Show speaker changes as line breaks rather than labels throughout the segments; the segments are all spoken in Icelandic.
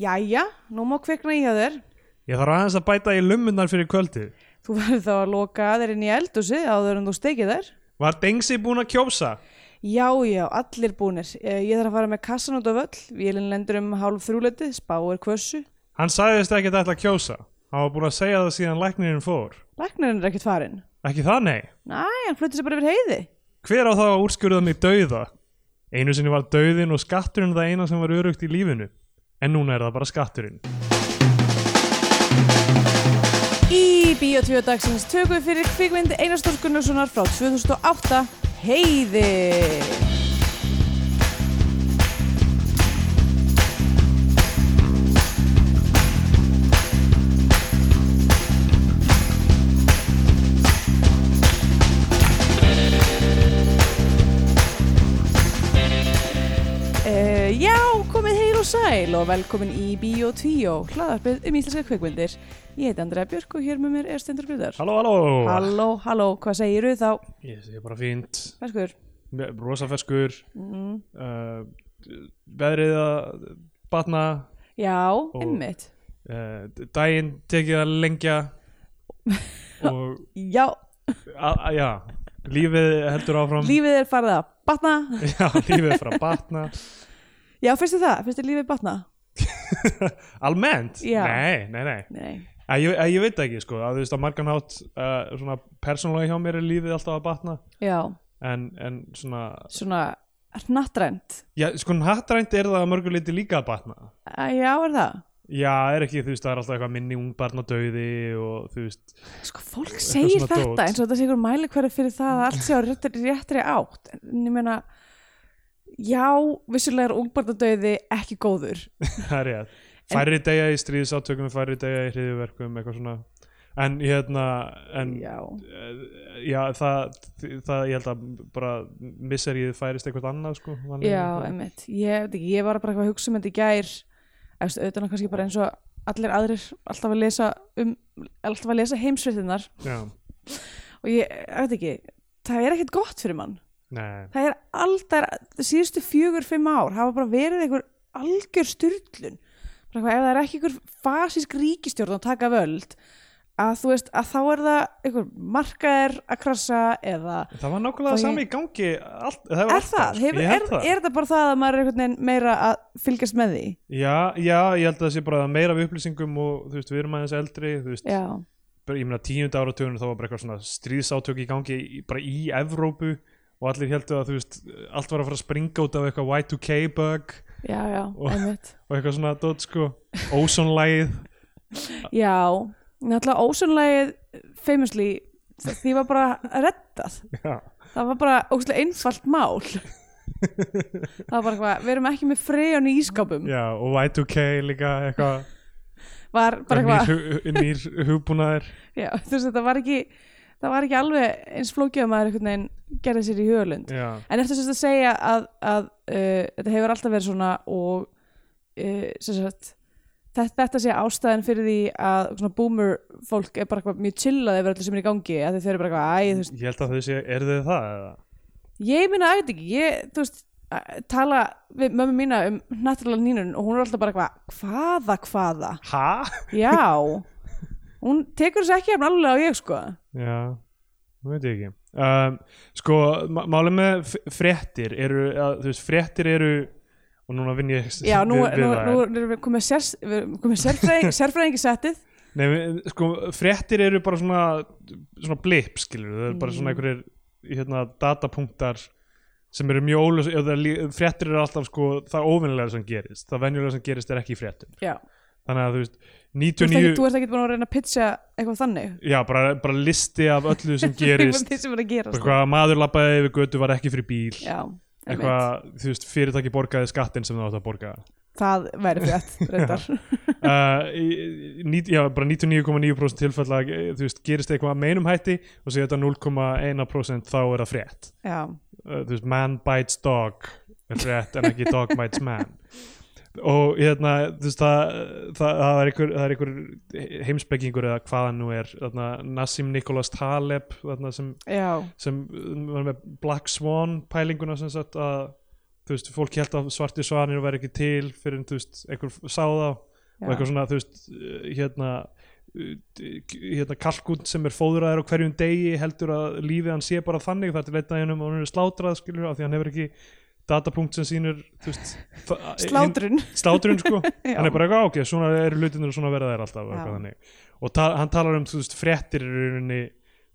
Jæja, nú má kvikna í hjá þér
Ég þarf aðeins að bæta í lummunar fyrir kvöldið.
Þú verður þá að loka að þeir inn í eldhúsið áður en þú steikið þær
Var Dengsi búin að kjósa?
Já, já, allir búnir Eh, Ég þarf að fara með kassan út á völl Vélinn lendur um hálf þrjúleiti, spáir kvössu
Hann sagðist ekki að ætla að kjósa. Hann var búin að segja það síðan læknirinn fór.
Læknirinn er ekkert farinn
Ekki það, nei.
Næ, hann flutur sér bara yfir heiði
Hver á þá að úrskurða mig dauða? Einu sinni var dauðin og skatturinn það eina sem var örugt í lífinu. En núna er það bara skatturinn.
Í Bíotvíu dagsins tökum við fyrir kvikmynd Einarstórs Gunnarssonar frá 2008 Heiði Uh, já, komið heil og sæl og velkomin í Bíotvíu, hlaðarpið um íslenska kvikmyndir. Ég heiti Andrea Björk og hér með mér er Stendur Gryðar.
Halló, halló!
Halló, halló, hvað segir þú þá?
Ég segi bara fínt.
Ferskur,
Rosafeskur. Uh, veðrið að batna.
já, einmitt.
Uh, daginn tekið að lengja. og
Já,
A- a- Já, lífið heldur áfram
lífið er farið að batna.
Já, lífið er frá batna
Já, finnst þið það? Finnst þið lífið batna?
Almennt?
Já.
Nei, nei, nei
Nei.
að ég, að ég veit ekki, sko, að þú veist að margan hátt uh, svona persónulega hjá mér er lífið alltaf að batna
Já,
en, en svona,
svona hnattrænt.
já, sko hattrænt er það að mörgu liti líka að batna
Æ, Já, er það?
Já, er ekki, þú veist, það er alltaf eitthvað minni ungbarn og dauði og þú veist
Sko, fólk segir
svona
þetta
dót.
eins og þetta sé ykkur mæli fyrir það að allt sé á réttri, réttri átt. En ég meina, já, vissulega er ungbarnadauði ekki góður.
það er rétt Færri degja í stríðsátökum, færri degja í hriðiverkum, eitthvað svona En hérna, en
Já,
Eh, já, það, það ég held að bara misserið færist eitthvað annað sko þannig
já,
að-
einmitt. Ég, veit ekki, ég var bara eitthvað að hugsa um þetta í gær, eftir auðvitað kannski bara eins og allir aðrir alltaf að lesa, um, alltaf að lesa heimsveitinnar
já,
og ég, ég veit ekki, það er ekkert gott fyrir mann.
nei,
það er alltaf síðustu fjögur, fimm ár hafa bara verið einhver algjör styrlun bara eitthvað, ef það er ekki einhver fasísk ríkistjórn að taka völd að þú veist, að þá er það einhver markaðir að krassa eða
það var nákvæmlega
Og ég-
sami í gangi all, það var
er
alltaf,
það,
sko.
hefur,
Ég
er,
held það.
er það bara það að maður er einhvern veginn meira að fylgjast með því
já, já, ég held að það sé bara meira af upplýsingum og þú veist, við erum aðeins eldri þú veist,
já,
bara, ég meina tíunda áratugunum þá var bara eitthvað svona stríðsátök í gangi í- bara í Evrópu og allir heldur að þú veist, allt var að fara að springa út af eitthvað Y2K bug
já, já,
Og-
einmitt
og eitthvað svona dot sko, ósónlægið
já, náttúrulega ósönlegið famously, því var bara reddað
já,
það var bara ógustlega einfalt mál það var bara eitthvað við erum ekki með freyjan í ískapum
já, og Y2K líka eitthvað
var bara eitthvað
nýr hu- hugbúnaðir
já, þú veist þetta var ekki það var ekki alveg eins flókið að maður einhvern veginn gerði sér í hugalund
já,
en eftir þess að segja að, að uh, þetta hefur alltaf verið svona og uh, sem sagt þetta, þetta sé ástæðan fyrir því að svona boomer fólk er bara eitthvað mjög chillað yfir öllu sem er í gangi að þau eru bara eitthvað, æ, þú veist
ég held að þau sé, er þau það eða?
Ég minna að þetta ekki, ég, þú veist, að tala við mömmu mína um natúrlega nýnun og hún er alltaf bara eitthvað, hvaða, hvaða,
Hæ?
já, hún tekur þessu ekki eftir alveg á ég, sko.
Já, nú veit ég ekki um, Sko, má- málið með f- fréttir eru, að, þú veist, fréttir eru og núna vinn ég s-
Já, nú,
við- við
nú,
það.
nú erum við komið, sérs, við erum komið sérfræðing, sérfræðing í settið,
Nei, við- sko, fréttir eru bara svona svona blip, skilur þau eru bara
Mm.
svona einhverjir hérna, datapunktar sem eru mjög óljós ef það er lí- fréttir eru alltaf sko það óvinnilega sem gerist, það venjulega sem gerist er ekki í fréttum
já,
þannig að þú veist
þú veist
99
ekki, þú ert ekki búin að reyna að pitcha eitthvað þannig.
Já, bara, bara listi af öllu sem gerist
Því sem er að gerast.
eitthvað maður labbaði yfir götu var ekki fyrir bíl
Já, eitthvað.
eitthvað, þú veist, fyrirtæki borgaði skattinn sem það átt að borga
Það væri frétt, reyndar.
uh, í- í- ní- Já, bara 99,9% tilfella eh, þú veist, gerist eitthvað að meinum hætti og svo þetta 0,1% þá er það frétt
já,
uh, þú veist, man bites dog er frétt en ekki dog bites man og hérna, þú veist, það, það, það er einhver, það er einhver heimspekingur eða hvaðan nú er þarna, Nassim Nicholas Taleb þarna, sem um,
já,
sem uh, var með Black Swan pælinguna sem sagt að þú veist, fólk held að svarti svanir væri ekki til fyrir en þú veist, einhver sá þá og
Já.
eitthvað svona, þú veist, eh, hérna eh, hérna kalkun sem er fóðuraður á hverjum degi heldur að lífið hann sé bara þannig þar til leita hennum og hann er slátrað skilur af því hann hefur ekki datapunkt sem sýnir þú veist, þa-
slátrun
slátrun sko
Já.
hann er bara eitthvað ok, svona eru hlutinir og svona verða þær alltaf
Já.
og eitthvað þannig. og ta hann talar um þú veist, fréttir í rauninni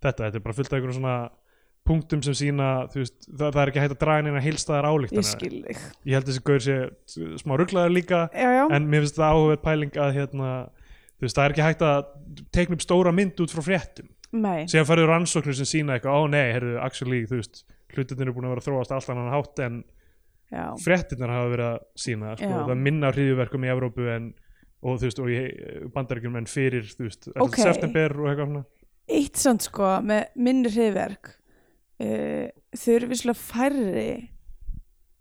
þetta, þetta er bara fullt af einhverjum svona punktum sem sína þú veist, það, það er ekki hægt að draga neina heilstæðar
ég
álíktanir
skil þig
ég held þessi gaur sé t- smá rugglaður líka
já, já,
en mér finnst það áhugaverð pæling að hérna, þú veist, það er ekki hægt að teikna upp stóra mynd út frá fréttum
nei
síðan færðu rannsóknir sem sína eitthvað, ó nei, heyrðu, actually, þú veist hlutinir eru búin að vera að þróast allt annan hátt en
já,
fréttinnar hafa verið að sína sko,
Já.
það er minna hriðjuverkum í Evrópu en, og þú veist, og í bandaríkjum en fyrir, þú veist,
Ok.
okay. september og eitthvað svona
eitt samt sko með minni hriðverk uh, þau eru visslega færri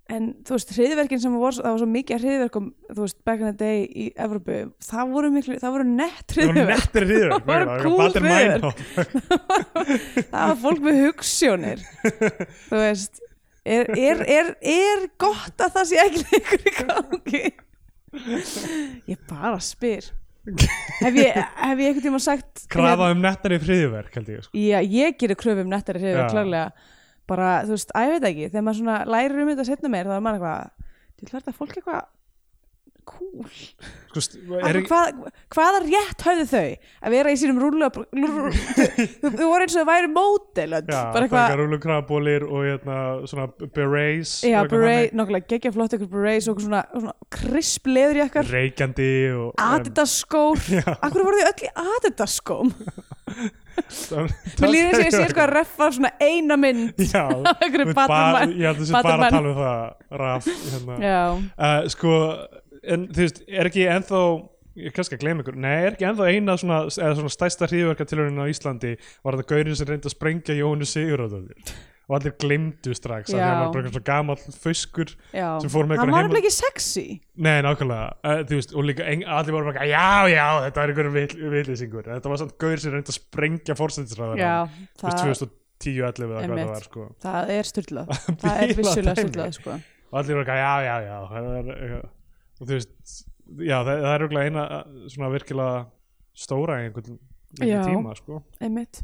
en þú veist hriðverkin sem voru, það var svo mikið af hriðverkum þú veist back in the day í Evropu það voru miklu, það voru nett
það voru
hriðverk
nettir hriðjuverk
voru cool hryðjuverk.
hriðjuverk
það var fólk með hugssjónir þú veist er, er, er, er gott að það sé ekki lengur í gangi ég bara spyr hef ég, hef ég einhvern tíma sagt
krafa um nettari hriðjuverk held ég sko.
Já, ég gerir kröfu um nettari
Já.
hreyfing klárlega bara, þú veist, að ég veit ekki þegar maður svona lærir um þetta setna meir þá er maður eitthvað, þú ætlar þetta fólk eitthvað cool
Sko, st- er
Akkur,
ekki,
hvað, hvaða rétt höfðu þau að vera í sínum rúlu þú þú voru eins og þau væri mótel öll,
já,
bara eitthvað
rúlukrabólir og hérna, svona berets
Já,
og eitthvað
beret, nokkulega geggja flott ykkur berets og svona, svona krisp leður
þannig.
jakkar
reykjandi og
Adidas skór Akkur voru þau öll í Adidas skóm Mér líður þess að ég sé eitthvað að reffa svona eina mynd
já,
af einhverju
þú ert bara-
Batman-
ég held þessi bara
Batman.
að tala um það raf, hérna
Já,
uh, sko, en þú veist, er ekki ennþá ég er kannski að gleyma ykkur, nei, er ekki ennþá eina svona, eða svona stæsta hríðverka á Íslandi var þetta gaurinn sem reyndi að sprengja Jóhannu Sigurðardóttir og allir gleymdu strax af því að
Já.
hann var bara eitthvað svona gamall fuskur
já
Sem fór
Hann
með einhverja
var
heima-
nefnilega ekki sexy
nei, nákvæmlega, uh, þú veist, og líka en, allir voru bara, eitthvað, já, já, þetta var einhverjum vitlýsingur, þetta var samt gaur sem reyndi að sprengja fórsætisræðar,
Já,
þú
það,
veist, 2011 eða hvað
Einmitt.
það var, sko
það er styrlað það er
Bílað
vissulega
dæmi.
styrlað sko.
og allir voru eitthvað, já, já, já það er, já. og þú veist já, það, það er örugglega eina svona virkilega stóra í einhvern
Já.
einhvern tíma, sko
einmitt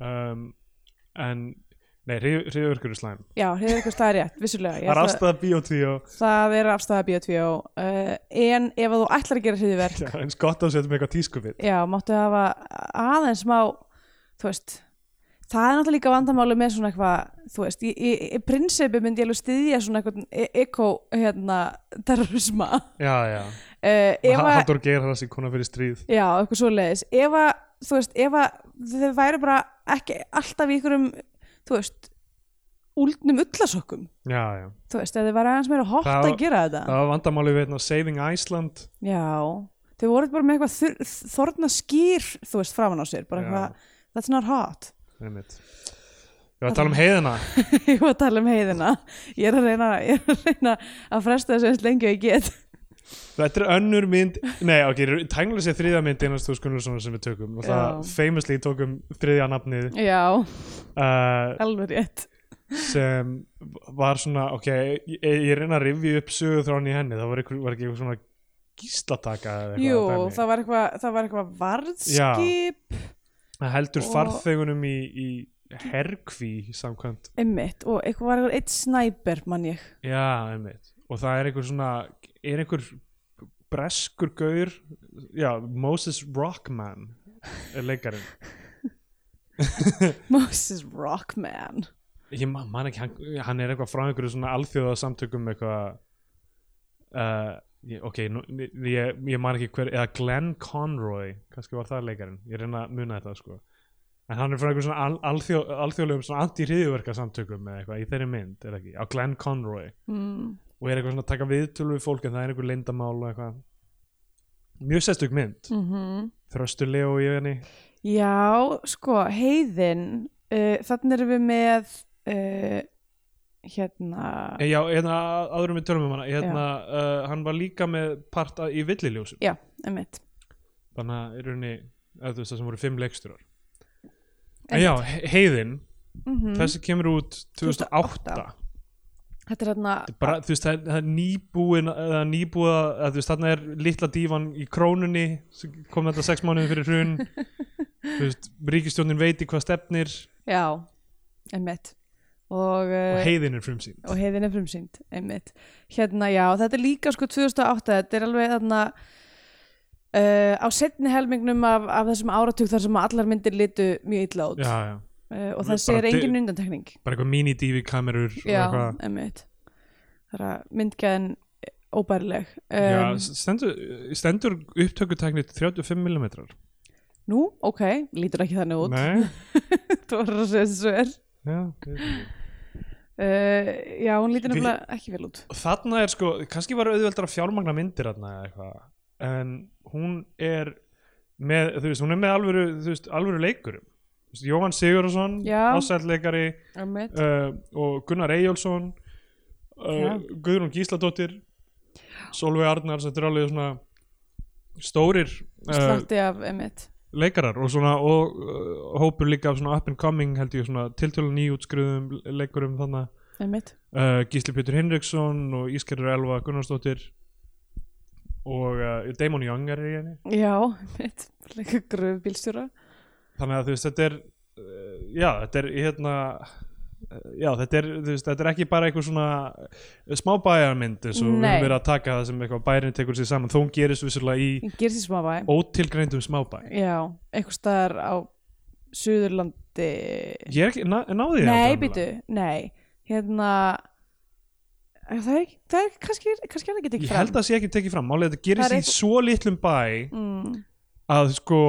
um, en, nei, hriðurkur er slæm
já, hefur eitthvað staðar rétt, vissulega Ég
það er
ætla-
aðstæða bíotví og
það er afstæða bíotvíó uh, en ef að þú ætlar að gera hriðverk
já, eins gott að setja með eitthvað tískupið
já, máttu hafa aðeins má þú veist það er náttúrulega líka vandamáli með svona eitthvað þú veist, í, í, í prinsipi myndi ég alveg styðja svona eitthvað eko hérna, terrorisma uh,
já, já,
ef að
Halldór Geir hans í kona fyrir stríð
Já, eitthvað svoleiðis ef að, þú veist, ef að þau væri bara ekki alltaf í ykkurum þú veist, úldnum ullasokkum,
já, já,
þú veist, ef þau væri aðeins meira hot
Það-
að gera þetta
það var vandamáli við hérna, Saving Iceland
Já, þau voru bara með eitthvað þur, þorna skýr, þú veist, framan á sér bara
Já.
eitthvað, that's not hot
einmitt ég var að tala um heiðina
Ég var að tala um heiðina Ég er að reyna, ég er að, reyna að fresta þessu eins lengi og ég get
Þetta er önnur mynd, nei ok, tænglega sér þriðja mynd einast þú skunnarssonar sem við tökum og það
Já.
famously tókum þriðja nafnið
Já,
uh,
alveg rétt
sem var svona, ok, ég, ég reyna að rifja upp sögu þrán í henni, það var, ykkur, var ekki eitthvað svona gíslataka eða eitthvað
Jú,
dæmi.
það var eitthvað, það var eitthvað varðskip
það heldur
og-
farþegunum í, í herkví samkvæmt,
Einmitt, og eitthvað var eitthvað eitt snæper, mann ég
já, einmitt og það er einhver svona, er einhver breskur gaur já, Moses Rockman er leikarinn
Moses Rockman
ég man, man ekki, hann, hann er eitthvað frá einhverju svona alþjóðasamtökum eitthvað uh, ég, ok, nú, ég, ég man ekki hver eða Glenn Conroy, kannski var það leikarinn ég reyna að muna þetta sko en hann er frá einhverju svona al, alþjó, alþjóðlegum svona anti-hriðjúverka samtökum eða eitthvað í þeirri mynd, er það ekki, á Glenn Conroy
mm.
og er eitthvað svona að taka viðtölu við fólk en það er einhver leyndamál og eitthvað mjög sestug mynd,
Mm
Þröstur Leo í henni
Já, sko, heiðin uh, þannig erum við með uh, hérna
Eh, Já, hérna, aðurum við tölum um hana hérna, uh, hann var líka með part að, í villiljósum
Já, einmitt
þannig að í rauninni eða þú veist það sem voru fimm leiksturar en já, He- heiðin
mm
þessi kemur út 2008
2008. þetta er hérna
bara, þú veist, það er, það er nýbúin eða nýbúa, eða, þú veist, þarna er litla dífan í krónunni, sem kom þetta sex mánuðum fyrir hrun þú veist, ríkistjónin veit í hvað stefnir
já, einmitt og,
og
uh,
heiðin er frumsýnd
og heiðin er frumsýnd einmitt, hérna já, þetta er líka sko 2008, þetta er alveg þarna uh, á setni helmingnum af, af þessum áratug þar sem allar myndir litu mjög illa út
já, já,
uh, og
Bara
þessi er
di-
engin undantekning
bara eitthvað mini-dífi kamerur og
já,
eitthvað
einmitt það er að myndgæðin óbærileg
Já,
um,
stendur, stendur upptökutæknir 35 mm
nú, ok, lítur ekki þannig út
Nei,
þú var að segja þessu er
já, ég veit ekki.
uh, já, hún lítur
Við-
nefnilega ekki vel út
Þarna er sko, kannski var auðveldar að fjármagna myndir þarna eða eitthvað en hún er með, þú veist, hún er með alvöru, þú veist, alvöru leikurum Þú veist, Jóhann Sigurðarsson,
Já.
ásætleikari
einmitt,
uh, og Gunnar Eyjólfsson uh,
Já.
Guðrún Gísladóttir Solveig Arnar, þetta er alveg svona stórir uh,
slatti af einmitt
leikarar og svona og uh, hópur líka af svona up and coming held ég svona tiltölu nýjútskruðum leikurum þannig
einmitt,
uh, Gísli Pétur Hinriksson og Ískerður Elva Gunnarsdóttir og uh, Damon Young er í henni
já, einmitt líka gröf bílstjóra
þannig að þú veist þetta er uh, já þetta er hérna uh, já þetta er þú veist þetta er ekki bara einhver svona smábæjarmynd eins og við
Nei.
höfum verið að taka það sem eitthvað bærin tekur sér saman þó hún gerist vissulega í
ég gerði því smá bæ
ótilgreindum smábæ
já, einhver staðar á Suðurlandi
ég er ekki, ná, náði ég
nei,
aldrei
býtu, nei hérna það er, ekki- það er kannski, kannski er það ekki
alveg.
ekki
ég held að það sé ekki tekið fram málið er að þetta
Það
gerist
er
í
eitthvað-
svo litlum bæ
mm.
að sko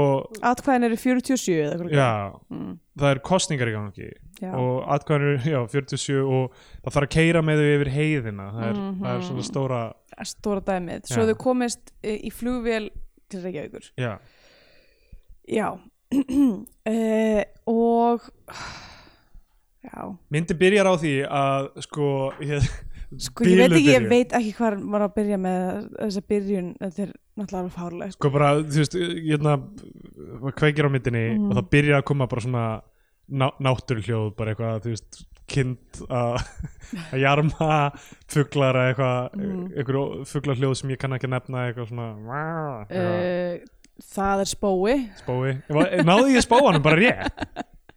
atkvæðin eru 47 eða eitthvað líka.
já,
mm,
það er kostningar í gangi
já.
og atkvæðanur, já, 47 og það þarf að keira með þau yfir heiðina það er, það er
Mhm.
svona stóra
stóra dæmið svo
Já.
þau komist eh, í flugvél til Reykjavíkur
já,
já uh, og já
myndi byrjar á því að sko ég,
sko ég veit
Biluð
ekki, ég
byrjun.
veit ekki hvað var að byrja með þessa byrjun þetta er náttúrulega alveg fárlega sko.
sko bara, þú veist, hérna maður kveikir á myndinni
Mhm.
og það byrjar að koma bara svona ná, náttúruhljóð bara eitthvað, þú veist, kind að að jarma fuglar eða eitthvað, mm.
Mhm.
einhver fuglarhljóð sem ég kann ekki að nefna eitthvað svona vá, eitthvað,
uh, það er spói
spói, Var- náði ég spóanum bara rétt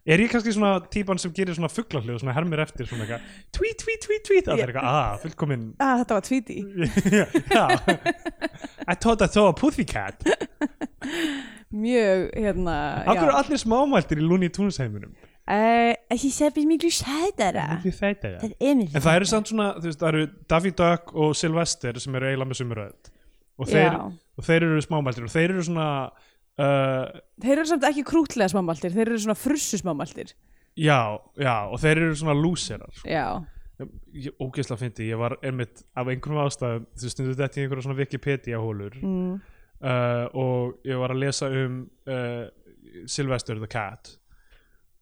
er ég kannski svona típan sem gerir svona fuglarhljóð, svona hermir eftir svona eitthvað, tweet, tweet, tweet, tweet það er eitthvað, að, fullkomin
ah, þetta var tvíti
Mm.
já, I thought I saw a pussycat
mjög hérna
Akkur eru allir smámæltir í Looney Tunes heiminum
Ekki sæpið Eh, miklu sætara
Ekki þetta, já.
Það er
Mm. En
mér
það eru samt svona, þú veist, það eru Daffy Duck og Sylvester sem eru eiginlega með sumuröð og þeir,
Já.
og þeir eru smámæltir og þeir eru svona uh,
þeir eru samt ekki krútlega smámaltir þeir eru svona frussu smámaltir
já, já, og þeir eru svona lúserar
já,
ég ógeðslega fyndi, ég var einmitt af einhverjum ástæðum, þú stundur þetta í einhverja svona Wikipedia hólur
Mm.
uh, og ég var að lesa um uh, Sylvester the Cat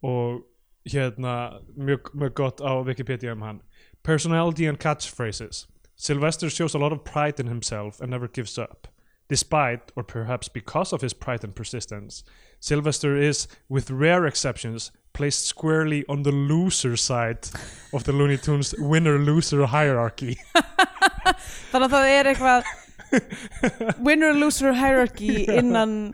og hérna mjög, mjög gott á Wikipedia um hann Personality and catchphrases Sylvester shows a lot of pride in himself and never gives up Despite, or perhaps because of his pride and persistence, Sylvester is, with rare exceptions, placed squarely on the loser side of the Looney Tunes winner-loser hierarchy.
þannig að það er eitthvað winner loser hierarchy innan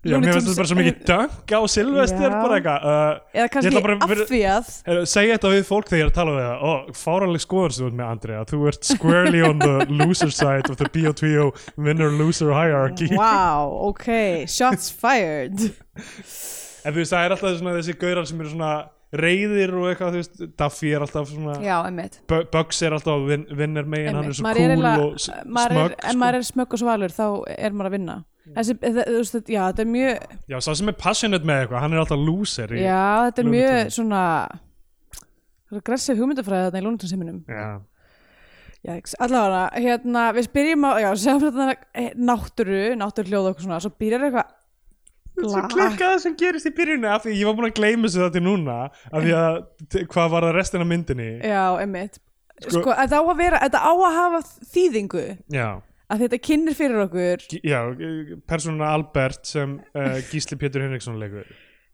Já,
Looney
mér finnst
Tunes-
þetta bara svo mikið dunk á Sylvester,
Já.
bara eitthvað. Uh,
eða
ætla
kannski
bara að
af
vera-
því að
Heyrðu, Segja þetta við fólk þegar ég er að tala við það Ó, fáraleg skoðan sem þú ert með Andri að þú ert squarely on the loser side of the BO2 winner-loser hierarchy
wow, ok, shots fired
En þú veist, það er alltaf svona þessi gaurar sem eru svona reyðir og eitthvað, þú veist Daffy er alltaf svona
já, emmitt
Bu- Bugs er alltaf vin, vinnir megin, hann er svo cool og s- smögg
en maður er smögg og svalur þá er maður að vinna
Mm.
Þessi, það, þú veist, þetta- já, þetta er mjög
Já, sá sem er passionate með eitthvað, hann er alltaf loser í,
já, þetta er
Looney
mjög
Tunes.
svona það er gressið hugmyndafræði þarna í lónutinsheiminum
Já.
allavega, hérna, við spyrjum á já, sem þetta eh, náttúru náttúrljóð og okkur svona, svo byrjar eitthvað
Svo
Glak.
klikkaða sem gerist í byrjunni af því ég var búin að gleyma þessu það til núna af því að t- hvað var það restin af myndinni
Já, emmitt
Sko-
sko, þetta, á að vera, þetta á að hafa þýðingu
Já
að þetta kynir fyrir okkur
Gí- já, persónuna Albert sem uh, Gísli Pétur Henriksson leikur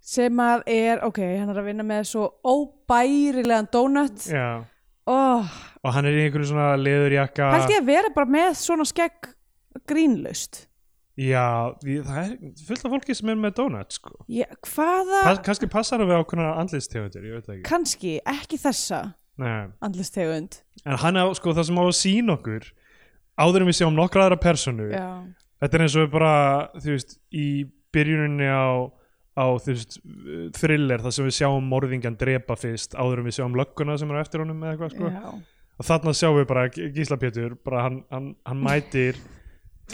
sem að er, ok, hann er að vinna með svo óbærilegan donut
já,
oh,
og hann er í einhverju svona leðurjakka
held ég að vera bara með svona skegg grínlaust
já, því- það er fullt af fólki sem er með donut sko.
ég, hvaða,
Pas, kannski passar það við ákveðna andlisttegundir ég veit það ekki
kannski ekki þessa
Nei.
andlistegund
en hann á, sko, það sem á að sína okkur áður en við sjáum nokkra aðra personu
já,
þetta er eins og bara þú veist, í byrjuninni á, á þú veist, thriller þar sem við sjáum morðingan drepa fyrst áður en við sjáum lögguna sem er á eftir honum eða eitthvað sko
já.
og þarna sjáum við bara Gísla Pétur bara hann, hann, hann mætir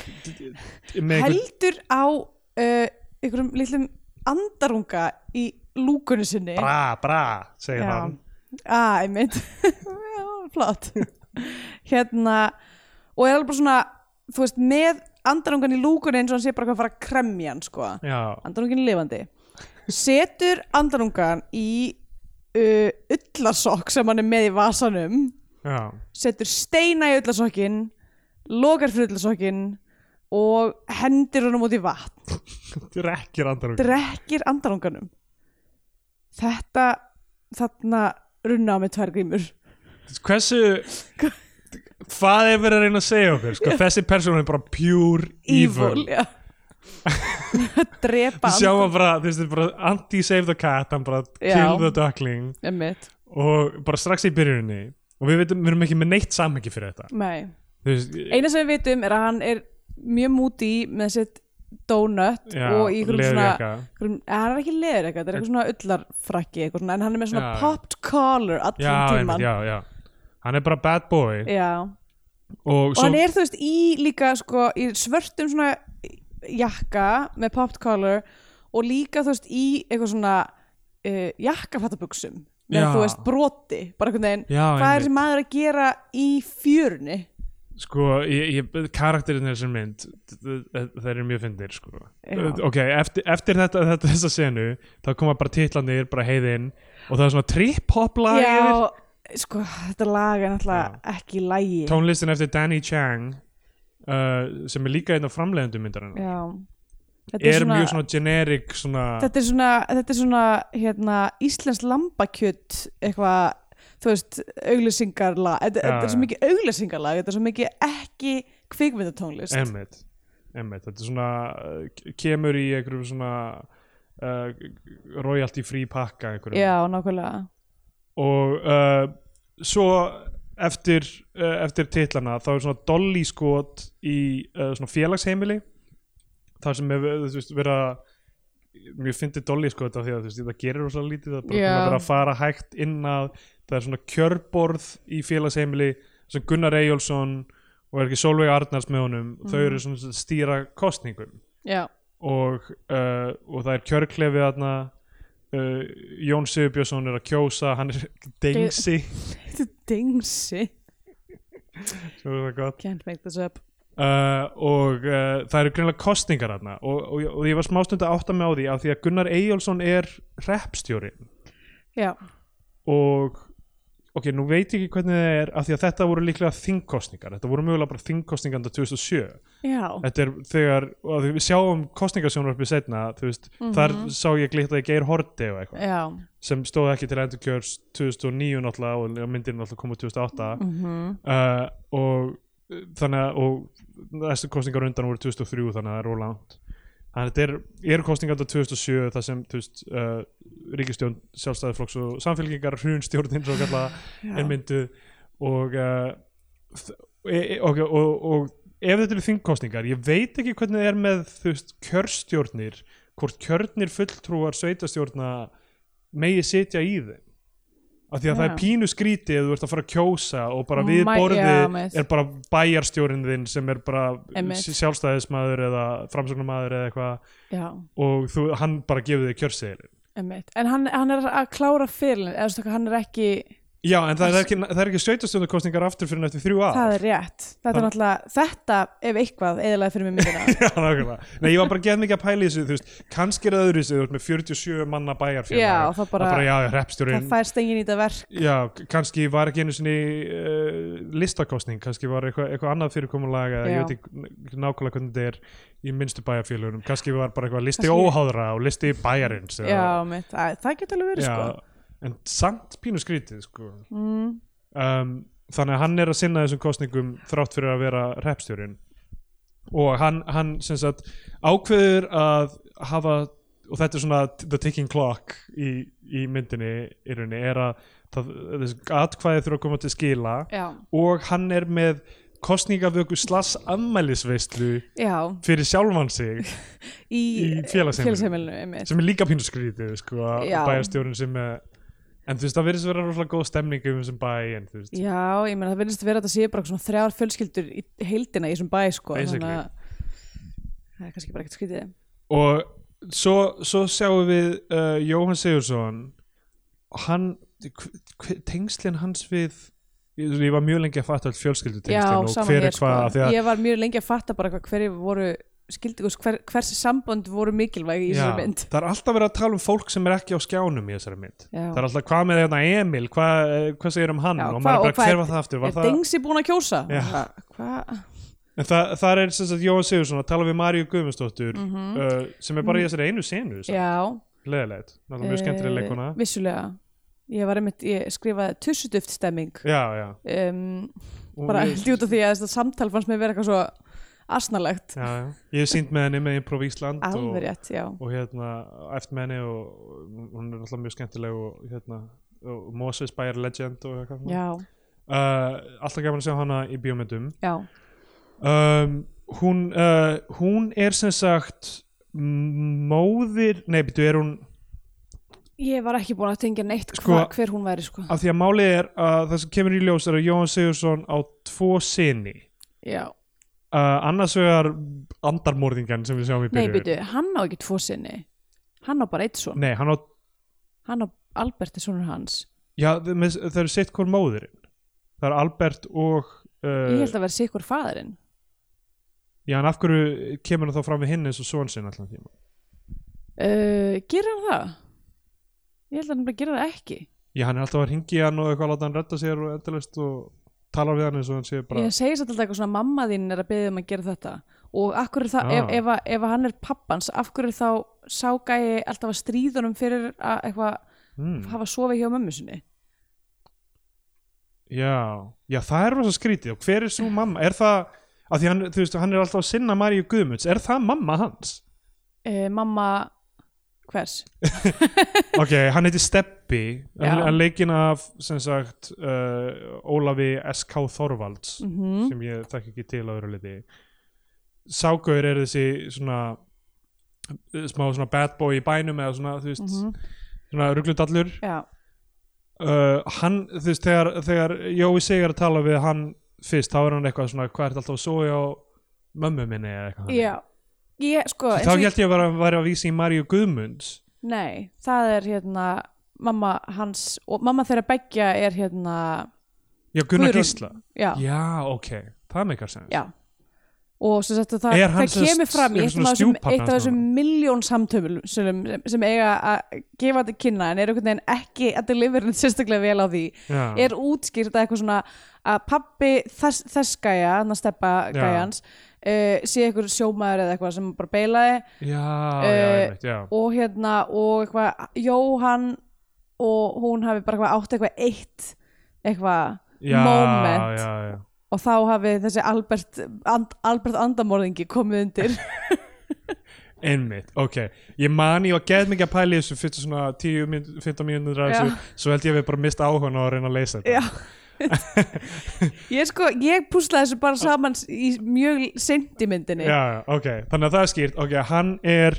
með einhvern
heldur á uh, einhverjum litlum andarunga í lúkunni sinni
bra bra segir
Já.
hann
ah, einmitt Já, flott hérna, og er alveg bara svona þú veist, með andarungan í lúkunni eins og hann sé bara hvað að fara að kremja hann sko.
já,
andarungin er lifandi setur andarungan í uh, ullasokk sem hann er með í vasanum
já,
setur steina í ullasokkin lokar fyrir ullasokkin og hendir honum út í vatn
drekkir andar
drekkir andarunganum þetta þarna runna á með tvær grímur
hversu hvað er verið að reyna að segja okkur sko? þessi persónu er bara pure evil,
evil, já drepa
Við sjáum hann bara, þú veist, þetta er bara anti-save the cat, hann bara kill
Já.
the duckling
Einmitt.
og bara strax í byrjuninni og við veitum, við erum ekki með neitt samhengi fyrir þetta
Nei.
þú veist,
eina sem við vitum er að hann er mjög múti með sitt donut
Já,
og í einhverjum svona
leðurjakka.
einhverjum, eh, hann er ekki leður eitthvað, þetta er eitthvað svona ullarfrakki eitthvað svona, en hann er með svona
Já, já.
popped collar allan
já, einmitt,
tíman
já, já hann er bara bad boy og,
og
svo,
hann er þú veist í líka sko, í svörtum svona jakka með popped collar og líka þú veist í eitthvað svona uh, jakkafattabuxum með
Já.
þú veist broti bara einhvern veginn,
Já,
hvað er
einmitt.
sem maður að gera í fjörunni
sko, ég, ég, karakterin er sem mynd það eru mjög fyndir sko.
Já.
ok, eftir, eftir þetta, þetta þessa senu, þá koma bara titlanir bara heiðin og það er svona trip-hop lag yfir.
já, sko, þetta lag er náttúrulega ekki lægi
tónlistin eftir Danny Chang uh, sem er líka einn af framleiðendum myndarinn
já Þetta
er mjög svona generic svona,
þetta er svona, þetta er svona hérna, Íslands lambakjöt eitthvað, þú veist, auglýsingarlag þetta,
Já,
þetta er
já.
svo mikið auglýsingarlag þetta er svo mikið ekki kvikmyndatónlist
Emmett Emmett, þetta er svona uh, kemur í einhverjum svona uh, royalty free pakka einhverjum
já, nákvæmlega
og uh, svo eftir, uh, eftir titlana þá er svona dolly skot í uh, svona félagsheimili þar sem er þú veist, vera mjög fyndi dolly skot af því að þú veist, það gerir rosa lítið það er bara
Já.
yeah. að fara hægt inn að það er svona kjörborð í félagsheimili sem Gunnar Eyjólfsson og er ekki Solveig Arnars með honum þau eru svona sem stýra kostningum
já,
og, uh, og það er kjörklefi þarna uh, Jón Sigurbjörnsson er að kjósa hann er dengsi
þetta er dingsi
sem er það gott.
can't make this up
uh, og uh, það eru greinlega kostningar þarna og, og, og ég var smástund að átta mig á því af því að Gunnar Eyjálsson er reppstjórin
já,
og ok, nú veit ég ekki hvernig það er af því að þetta voru líklega þingkostningar þetta voru mögulega bara þingkostningar 2007
já,
þetta er þegar, og af því við sjáum kostningarsjónarfið setna, þú veist þar sá ég glitta í Geir Horti og eitthvað
já
sem stóð ekki til endurkjörs 2009 náttúrulega og myndirinn náttúrulega kom úr 2008 uh, og uh, þannig að og næstu kostningar á undan voru 2003 þannig að það er ólangt þannig að þetta er- eru kostningar á 2007 þar sem þú veist, uh, ríkistjón sjálfstæðiflokks og samfélgingar hrunstjórnin svo kalla er myndu og, uh, þ- e, e, og, og, og ef þetta eru þingkostningar ég veit ekki hvernig það er með þú veist, kjörstjórnir hvort kjörnir fulltrúar sveitastjórna megi sitja í þeim af því að það
Já.
er pínu skríti ef þú ert að fara að kjósa og bara við
Mæ-
borðið
já, með-
er bara bæjarstjórinn þinn sem er bara
Einmitt.
Emmeit. sjálfstæðismadur eða framsögnamadur eða eitthvað
já,
og þú, hann bara gefur þig kjörseðilinn
emmitt en hann, hann er að klára fyrirlin eða þú veist, hann er ekki,
Já, en það er ekki, það er ekki sveitastjórnarkostningar aftur fyrir nættu þrjú ár
það er rétt þetta er
Það-
náttúrulega, þetta ef eitthvað eðlaði fyrir mig myndina
Já, nákvæmlega. Nei, ég var bara gett mikið að pæla í þessu, þú veist, kannski er það öðru þessu, þú ert með 47 manna bæjarfélag
Já, það bara-
bara já,
það
hreppstjórinn,
fær stengin í þetta verk
já, kannski var ekki einu sinni uh, listakostning, kannski var eitthvað eitthva annað fyrirkomulag eða
Já.
ég veit ekki nákvæmlega hvernig þetta er í minnstu bæjarfélagum, kannski var bara eitthvað listi
Kannski-
óháðra og listi bæjarins
sko.
eða-
já, mitt, Æ, það getur alveg verið
já,
sko
en samt pínu skrítið sko.
mm.
um, þannig að hann er að sinna þessum kostningum þrátt fyrir að vera repstjórin og hann, hann sem sagt ákveður að hafa og þetta er svona t- the ticking clock í, í myndinni í rauninni er að það, þessi atkvæði þurfa að koma til skila
já,
og hann er með kostningavöku slass ammælisveislu
já
fyrir sjálfan sig
í,
Í félagsheimilinu.
félagsheimilinu, einmitt.
sem er líka pínu skrítið sko, að
Já.
bæjarstjórinn sem er en þú veist það verðist vera rosalega góð stemning um þessum bæ en þú veist
já, ég meina það verðist vera að þetta sé bara svona þrjár fjölskyldur í heildina í þessum bæ sko,
Basically.
að það er kannski bara ekkert skrítið
og svo, svo sjáum við uh, Jóhann Sigursson hann hv- hv- tengslin hans við ég ég var mjög lengi að fatta all
já,
fjölskyldutengslin og
saman
hver
hér
er hvað af því
sko.
að
ég var mjög lengi að fatta bara hvað hverju voru skildi, hver, hversi sambönd voru mikilvæg í
Já,
þessari mynd
það er alltaf verið að tala um fólk sem er ekki á skjánum í þessari mynd
Já.
það er alltaf hvað með hérna Emil hvað, eh, hvað segir um hann
Já,
og
hvað-
maður
og
bara
hvað
hver
er-
var það aftur
er
var það,
Dengsi búin að kjósa?
Já.
Hvað- Hvað?
en það, það er sem sagt Jóhann Sigursson að tala við Maríu Guðmundsdóttur uh, sem er bara í þessari einu senu
Mhm. Mm.
sem-
Já
leðilegt, náttúrulega mjög skemmtileg
eh,
leikona
Vissulega Ég var einmitt, ég skrifaði tussuduft stemming
já, já
um,
Og
bara
ég-
held út af því að þetta samtal fannst mér vera eitthvað svo asnalegt
Já, já. Ég hef sínt með henni með Improv Ísland og,
alveg rétt, já
og hérna æft með henni og og hún er alltaf mjög skemmtileg og hérna og Moses Bayer Legend og eitthvað svona.
já,
uh, alltaf gaman að sjá hana í bíómyndum
já,
um, hún, uh, hún er sem sagt m- móðir, nei býtu er hún
ég var ekki búin að tengja neitt
Sko-
hva, hver hún væri sko
af því að málið er að það sem kemur í ljós er að Jóhann Sigursson á tvo sinni
já.
uh, annars vegar andarmorðingan sem við sjáum í
nei,
byrjun
býtu, hann á ekki tvo sinni hann á bara eitt son
nei hann á
hann á Albert er sonur hans
Já, þau- með- það eru sitt hvort móðurinn Það eru Albert og
ég
uh,
held að vera sikur faðurinn
Já, en af hverju kemur hann þá fram við hinn eins og son sinn allan tíma
uh, gerir hann það? ég held að hann bara gerir það ekki
Já, hann er alltaf að ringi hann og eitthvað að láta hann redda sér og endalaust og tala við hann eins og hann sé bara
ég segi satt alltaf eitthvað svona mamma þín er að beðið um að gera þetta og af hverju er það,
Ah.
ef, ef, að- ef að hann er pappans af hverju er þá ságæi alltaf að stríðunum fyrir að eitthvað
mm,
hafa sofið hjá mömmu sinni
Já, já, það er rosa skrítið og hver er svo mamma? Er það, af því hann, þú veist, hann er alltaf að sinna Maríu Guðmunds, er það mamma hans?
e, mamma hvers?
Ok, hann heiti Steppi hann,
Já.
hann leikinn af, sem sagt uh, Ólafi S.K. Þorvalds
Mm
sem ég þekk ekki til á öðru liti Ságaur er þessi svona eh, smá svona bad boy í bænum eða svona, þú veist,
Mhm.
svona rugludallur
já,
uh, hann, þú veist, þegar, þegar Jói Sig er að tala við hann fyrst, þá er hann eitthvað svona, hvað er þetta alltaf að soja á mömmu minni eða eitthvað
já ég sko
þannig.
eins og
þá
ég-
held ég að vera, vera að vísa í Maríu Guðmunds
Nei, það er hérna mamma hans og mamma þeirra beggja er hérna
já, Gunnar
Guðrún.
Gísla,
já,
já, ok það meikar sem,
já og sem sagt að það,
Er hann
það
sem sagt
kemur fram í
einhver
eitt
svona
af þessum,
stjúpbarn
eitt af
hans
þessum
núna?
miljón samtöfum sem, sem eiga að gefa þetta kynna en eru einhvern veginn ekki að deliverin sérstaklega vel á því
já,
er útskýrt að eitthvað svona að pappi þess, þess gæja, hann að steppa
Já.
gæjans uh, sé einhver sjómaður eða eitthvað sem bara beilaði
já, já,
eh,
einmitt, já.
og hérna og eitthvað Jóhann og hún hafi bara eitthvað átt eitthvað eitt eitthvað
já,
moment
já, já.
og þá hafi þessi Albert, and, Albert andamorðingi komið undir
Einmitt, ok Ég man ég var geð mikið að pæla í þessu fyrstu svona 10, mínú- 15 mínútur að
Já.
þessu Svo held ég að við bara mista áhugan á að reyna að leysa þetta
Já. ég sko, ég púslaði þessu bara saman í mjög seint í myndinni
já, já, ok, þannig að það er skýrt Ok, hann er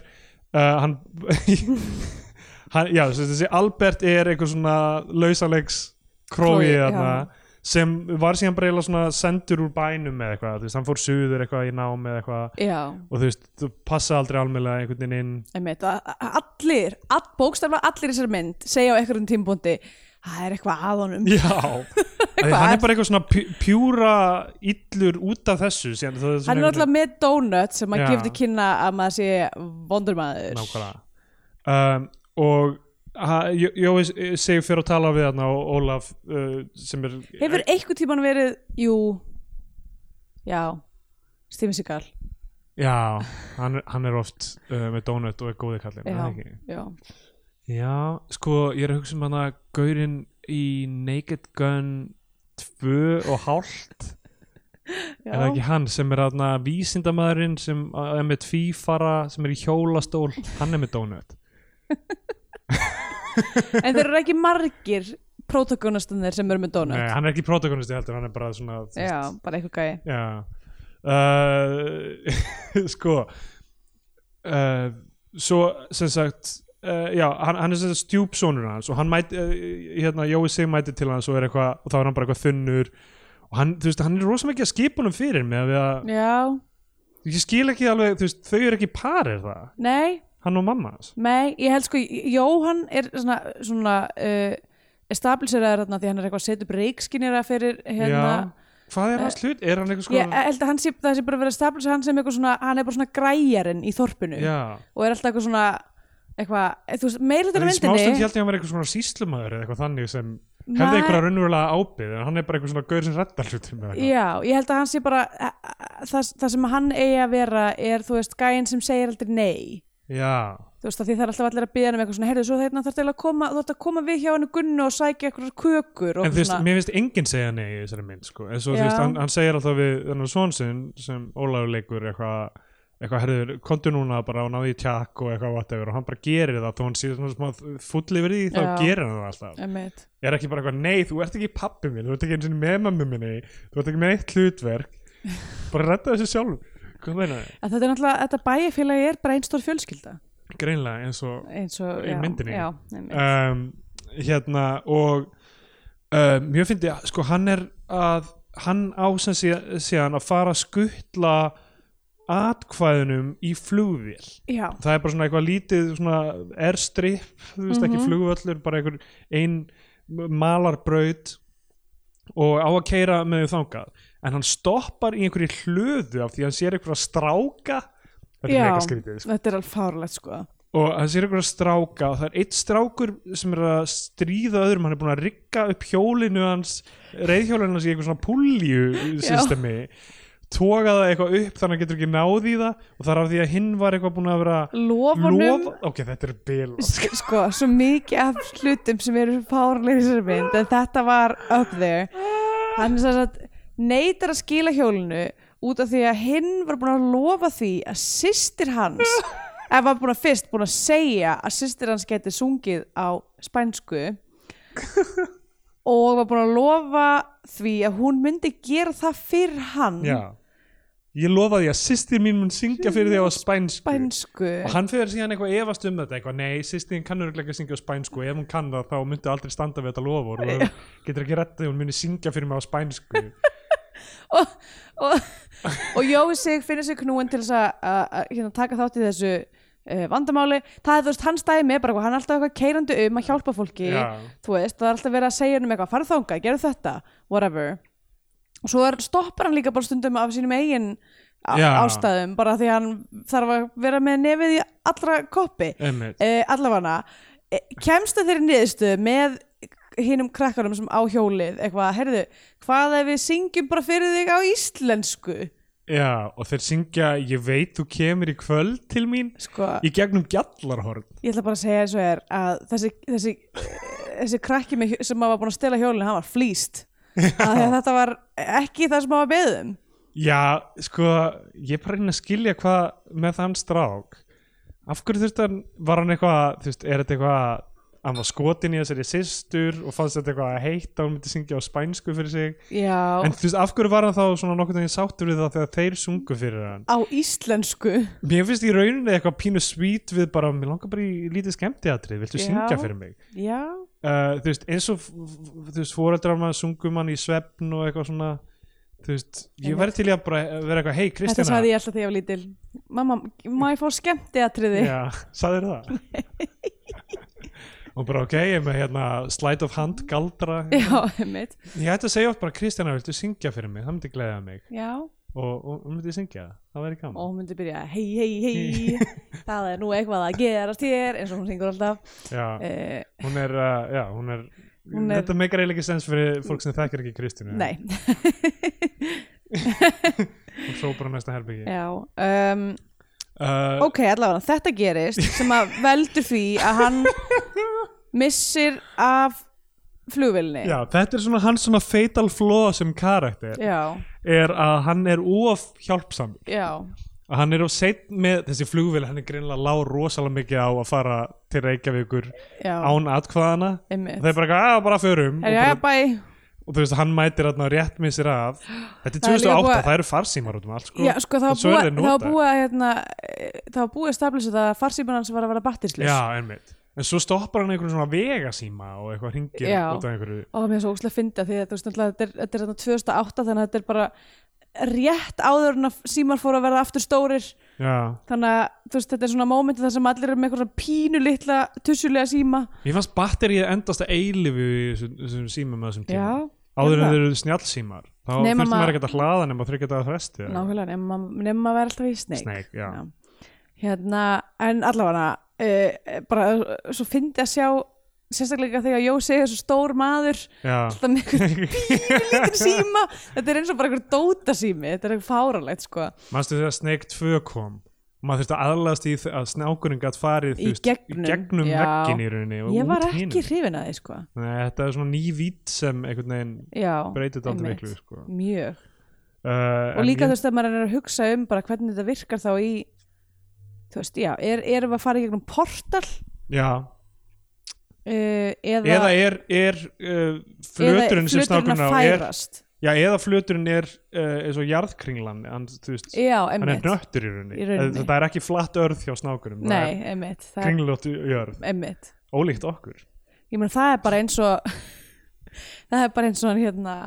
uh, Hann hann, Já, þessi, þessi Albert er einhver svona lausalegs
Krói,
krói
já.
þarna sem var síðan bara eiginlega svona sendur úr bænum eða eitthvað, þú veist, hann fór suður eitthvað í nám eða eitthvað
Já,
og þú veist, þú passa aldrei almennlega einhvern veginn inn
einmitt, að- að allir, all, bókstaflega allir í þessari mynd segja á einhverjum tímpundi það er eitthvað að honum
Já, Af því hann er bara eitthvað svona pjú- pjúra illur út af þessu síðan, það svona
hann er alltaf
einhvern
með donut sem að
Já.
gefði kynna að maður sé vondur maður
veginn- Nákvæmlega um, Og ha- Jó- Jói segir fyrir að tala við hann og Ólaf uh, sem er
Hefur einhvern tíman verið, jú Já Steven Seagal
Já, hann, er- hann er oft uh, með donut og er góði kallinn er
já,
það ekki?
já.
Já, sko, ég er að hugsa um hann að gaurinn í Naked Gun tvö og hálft er
Já,
það ekki hann sem er aðna vísindamaðurinn sem að- er með tvífara sem er í hjólastól, hann er með donut
en þeir eru ekki margir protagonistunir sem eru með donut
Nei, hann er ekki protagonisti heldur, hann er bara svona þú veist,
Já, bara eitthvað gæi
Já uh, Sko uh, Svo sem sagt uh, Já, hann, hann er sem sagt stjúpsonur hans og hann mæti, uh, hérna, Jói sig mæti til hans og er eitthvað, og þá er hann bara eitthvað þunnur og hann, þú veist, hann er rosa mikið að skipa honum fyrir með að við að,
Já,
ég skil ekki alveg, þú veist, þau eru ekki parir það,
nei,
hann og mamma hans
nei Ég held sko, Jóhann er svona, svona uh, establiseraður þarna því hann er eitthvað að setja upp reikskinjara fyrir hérna
Já, hvað er hans hlut? Er hann eitthvað sko
Ég eh, held að hann sé, það sé bara verið að establisera hann sem eitthvað svona, hann er bara svona græjarinn í þorpinu
Já,
og er alltaf eitthvað svona eitthvað, eh, þú veist, meirlutur
en
af
í smástund
myndinni
held ég að hann var eitthvað svona síslumæður eða eitthvað þannig sem hefði
Nei.
eitthvað raunverulega ábyrð en hann er bara eitthvað svona gaur sem reddar hlutum með eitthvað.
Já, ég held að hann sé bara a- a- það, það sem hann eigi að vera er, þú veist, gæinn sem segir aldrei nei
Já,
þú veist að því það er alltaf allir að byggja hann um eitthvað svona heyrðu svo þeirna þarf til að koma, þú ert að koma við hjá hann gunnu og sækja eitthvað kökur og
en þú veist,
svona,
mér finnst enginn segja nei í þessari mynd, sko, en svo þú
Já.
veist, hann, hann segir alltaf við þennan svon sinn sem Ólafur leikur eitthvað, eitthvað, herður, komdu núna bara og náðu í tjakk og eitthvað whatever og hann bara gerir það, þó hann sé svona smá full yfir því, þá
Já.
gerir hann það alltaf
einmitt,
er ekki bara eitthvað, nei, þú ert ekki pappi minn þú ert ekki eins og með mammi minni, þú ert ekki með eitt hlutverk bara redda þessu sjálf hvað meina þið?
að þetta er náttúrulega þetta bæjarfélagi er bara einn stór fjölskylda
Greinlega eins og
eins og,
Í
já,
myndinni.
já, einmitt.
um, hérna og um, mjög fyndi að sko hann er að hann á sem sé, séðan að fara að skuttla atkvæðunum í flugvél
já,
það er bara svona eitthvað lítið svona airstrip, þú veist
Mhm.
ekki flugvöllur bara einhver ein malarbraut og á að keira með þau þangað en hann stoppar í einhverju hlöðu af því hann sér einhverja stráka þetta er
Já.
mega skrítið sko.
þetta er alveg fárlegt sko
og hann sér einhverja stráka og það er eitt strákur sem er að stríða öðrum hann er búin að rigga upp hjólinu hans reyðhjólinu hans í einhver svona pulju systemi toga það eitthvað upp þannig að hann getur ekki náð í það og það er af því að hinn var eitthvað búin að vera
lofanum
lofa, ok, þetta er bil
sk- sko, svo mikið af hlutum sem eru fárlega í þessari mynd en þetta var up there hann er þess að neytar að skila hjólinu út af því að hinn var búin að lofa því að systir hans eða var búin að fyrst búin að segja að systir hans geti sungið á spænsku og var búin að lofa því að hún myndi gera það fyrir hann
já. ég lofaði að sýstir mín mun syngja fyrir því á spænsku,
spænsku
og hann fyrir síðan eitthvað efast um þetta eitthvað, nei, sýstir mín kannur ekki að syngja á spænsku og ef hún kann það, þá myndi aldrei standa við þetta lofur og hún getur ekki rettið, hún muni syngja fyrir mig á spænsku
og, og, og Jói sig finnir sig knúin til þess að, að, að hérna, taka þátt í þessu uh, vandamáli, það er þú veist hans dæmi bara, eitthvað, hann er alltaf eitthvað keirandi um að hjálpa fólki
Já.
þú veist, það er alltaf verið að segja um eitthvað farð þangað, gerðu þetta, whatever og svo er, stoppar hann líka bara stundum af sínum eigin á,
Já.
ástæðum bara því hann þarf að vera með nefið í allra koppi
Einmitt.
uh, allafana uh, kemst að þeirri niðurstöðu með hinnum krakkarum sem á hjólið eitthvað, heyrðu, hvað ef við syngjum bara fyrir þig á íslensku
já, og þeir syngja ég veit þú kemur í kvöld til mín
sko,
í gegnum gjallarhorn
ég ætla bara að segja eins og er að þessi, þessi, þessi krakki með, hjó- sem var búin að stela hjólinu, hann var flýst að þetta var ekki það sem hann var um. beðum
Já, sko, ég er bara að reyna að skilja hvað með þann strák af hverju þurfti hann, var hann eitthvað þú veist, er þetta eitthvað hann var skotin í þessari systur og fannst þetta eitthvað að heita hún myndi syngja á spænsku fyrir sig
já,
en þú veist, af hverju var hann þá svona nokkuð veginn sáttur við það þegar þeir sungu fyrir hann
á íslensku
Mér finnst í rauninni eitthvað pínu svít við bara, mér langar bara í lítið skemmtiatrið viltu
Já.
syngja fyrir mig
já,
uh, þú veist, eins og f- f- þú veist, fóreldrar maður sungum hann í svefn og eitthvað svona þú veist, ég verði til í að bara vera eitthvað hei
þetta
Kristjana,
sagði ég alltaf þegar ég var lítil mamma, má ég fá skemmti atriði
Já, sagðir það? og bara ok, ég er með hérna slide of hand galdra
já, einmitt
ég ætti að segja oft bara Kristjana, viltu syngja fyrir mig, það myndi gleða mig
já,
og, og, og myndi syngja, það, það væri gaman
og hún myndi byrja hei, hei, hei, það er nú eitthvað að gerast hér eins og hún syngur alltaf
já,
uh,
hún er, uh, já, hún er
Hún er-
þetta meikar eiginlega ekki sens fyrir fólk sem þekkir ekki Kristjana
nei,
hún sópar á næsta herbyggi
já um,
uh,
ok, allavega, þetta gerist sem að veldur því að hann missir af flugvilni
Já, þetta er svona hans svona fatal flaw sem karakter
já,
er að hann er of hjálpsam
já,
að hann er of seitt með þessi flugvél hann er greinlega lág rosalega mikið á að fara til Reykjavíkur
já
án atkvæðana
einmitt.
og þeir bara, að bara förum og,
Herra, já,
bara,
bæ,
og þú veist, hann mætir hann rétt með sér af þetta er
Það er líka
2008,
búið-
það eru farsímar út um allt sko.
já, sko, það
En svo
var
eru þeir
búið það var
notaðir.
búið að hérna, e, það var búið að stablisa það að farsýmanans var að vera battislis
Já, einmitt En svo stoppar hann einhverjum svona vegasíma og eitthvað hringir
Já.
út af einhverju
og mér er svo óslega fyndi að því að þú veist náttúrulega þetta er, þetta er þarna 2008 þannig að þetta er bara rétt áður en að símar fóru að verða aftur stórir
Já,
þannig að þú veist þetta er svona mómenti þar sem allir eru með eitthvað svona pínu litla tussulega síma
ég fannst batterið endast að eilifu í þessum þessum símum að þessum tíma
já,
áður
gerðu
en þeir eru snjálsímar þá
Nema
þurftum maður
maður-
ekkert að hlaða nema þryggja dagar fresti eða
nákvæmlega nema, nema að vera alltaf í sneik
Snake, já.
hérna, en allavega uh, bara eh, svo fyndi að sjá sérstaklega þegar Jósi er svo stór maður
Já,
alltaf með eitthvað pínulítinn síma þetta er eins og bara eitthvað dóta sími þetta er eitthvað fáralegt sko
mannstu þegar Snake 2 kom og maður þurfti að aðlaðast í þ- að snákurinn gætt farið þú
Í
veist,
gegnum,
í gegnum
já.
veggin í rauninni og
ég var
út
ekki
hinum.
hrifin að því sko
Nei, þetta er svona nývít sem einhvern veginn
já,
breytið dálítið
einmitt.
miklu sko.
mjög
uh,
og
en
líka
ég-
þú veist að maður er að hugsa um bara hvernig þetta virkar þá í þú veist, já, er, erum við að fara í gegnum portal
Já,
uh, eða,
eða er, er uh, flöturinn sem snákurinn á er,
færast
já, eða flöturinn er uh, eins og jarðkringlan hann, þú veist,
já,
hann er
emmitt
nöttur í rauninni,
Í rauninni.
þetta er ekki flatt örð hjá snákurum
nei, emmitt,
það er
það er
kringlóttu jörð,
emmitt
ólíkt okkur
ég meina það er bara eins og það er bara eins og hann hérna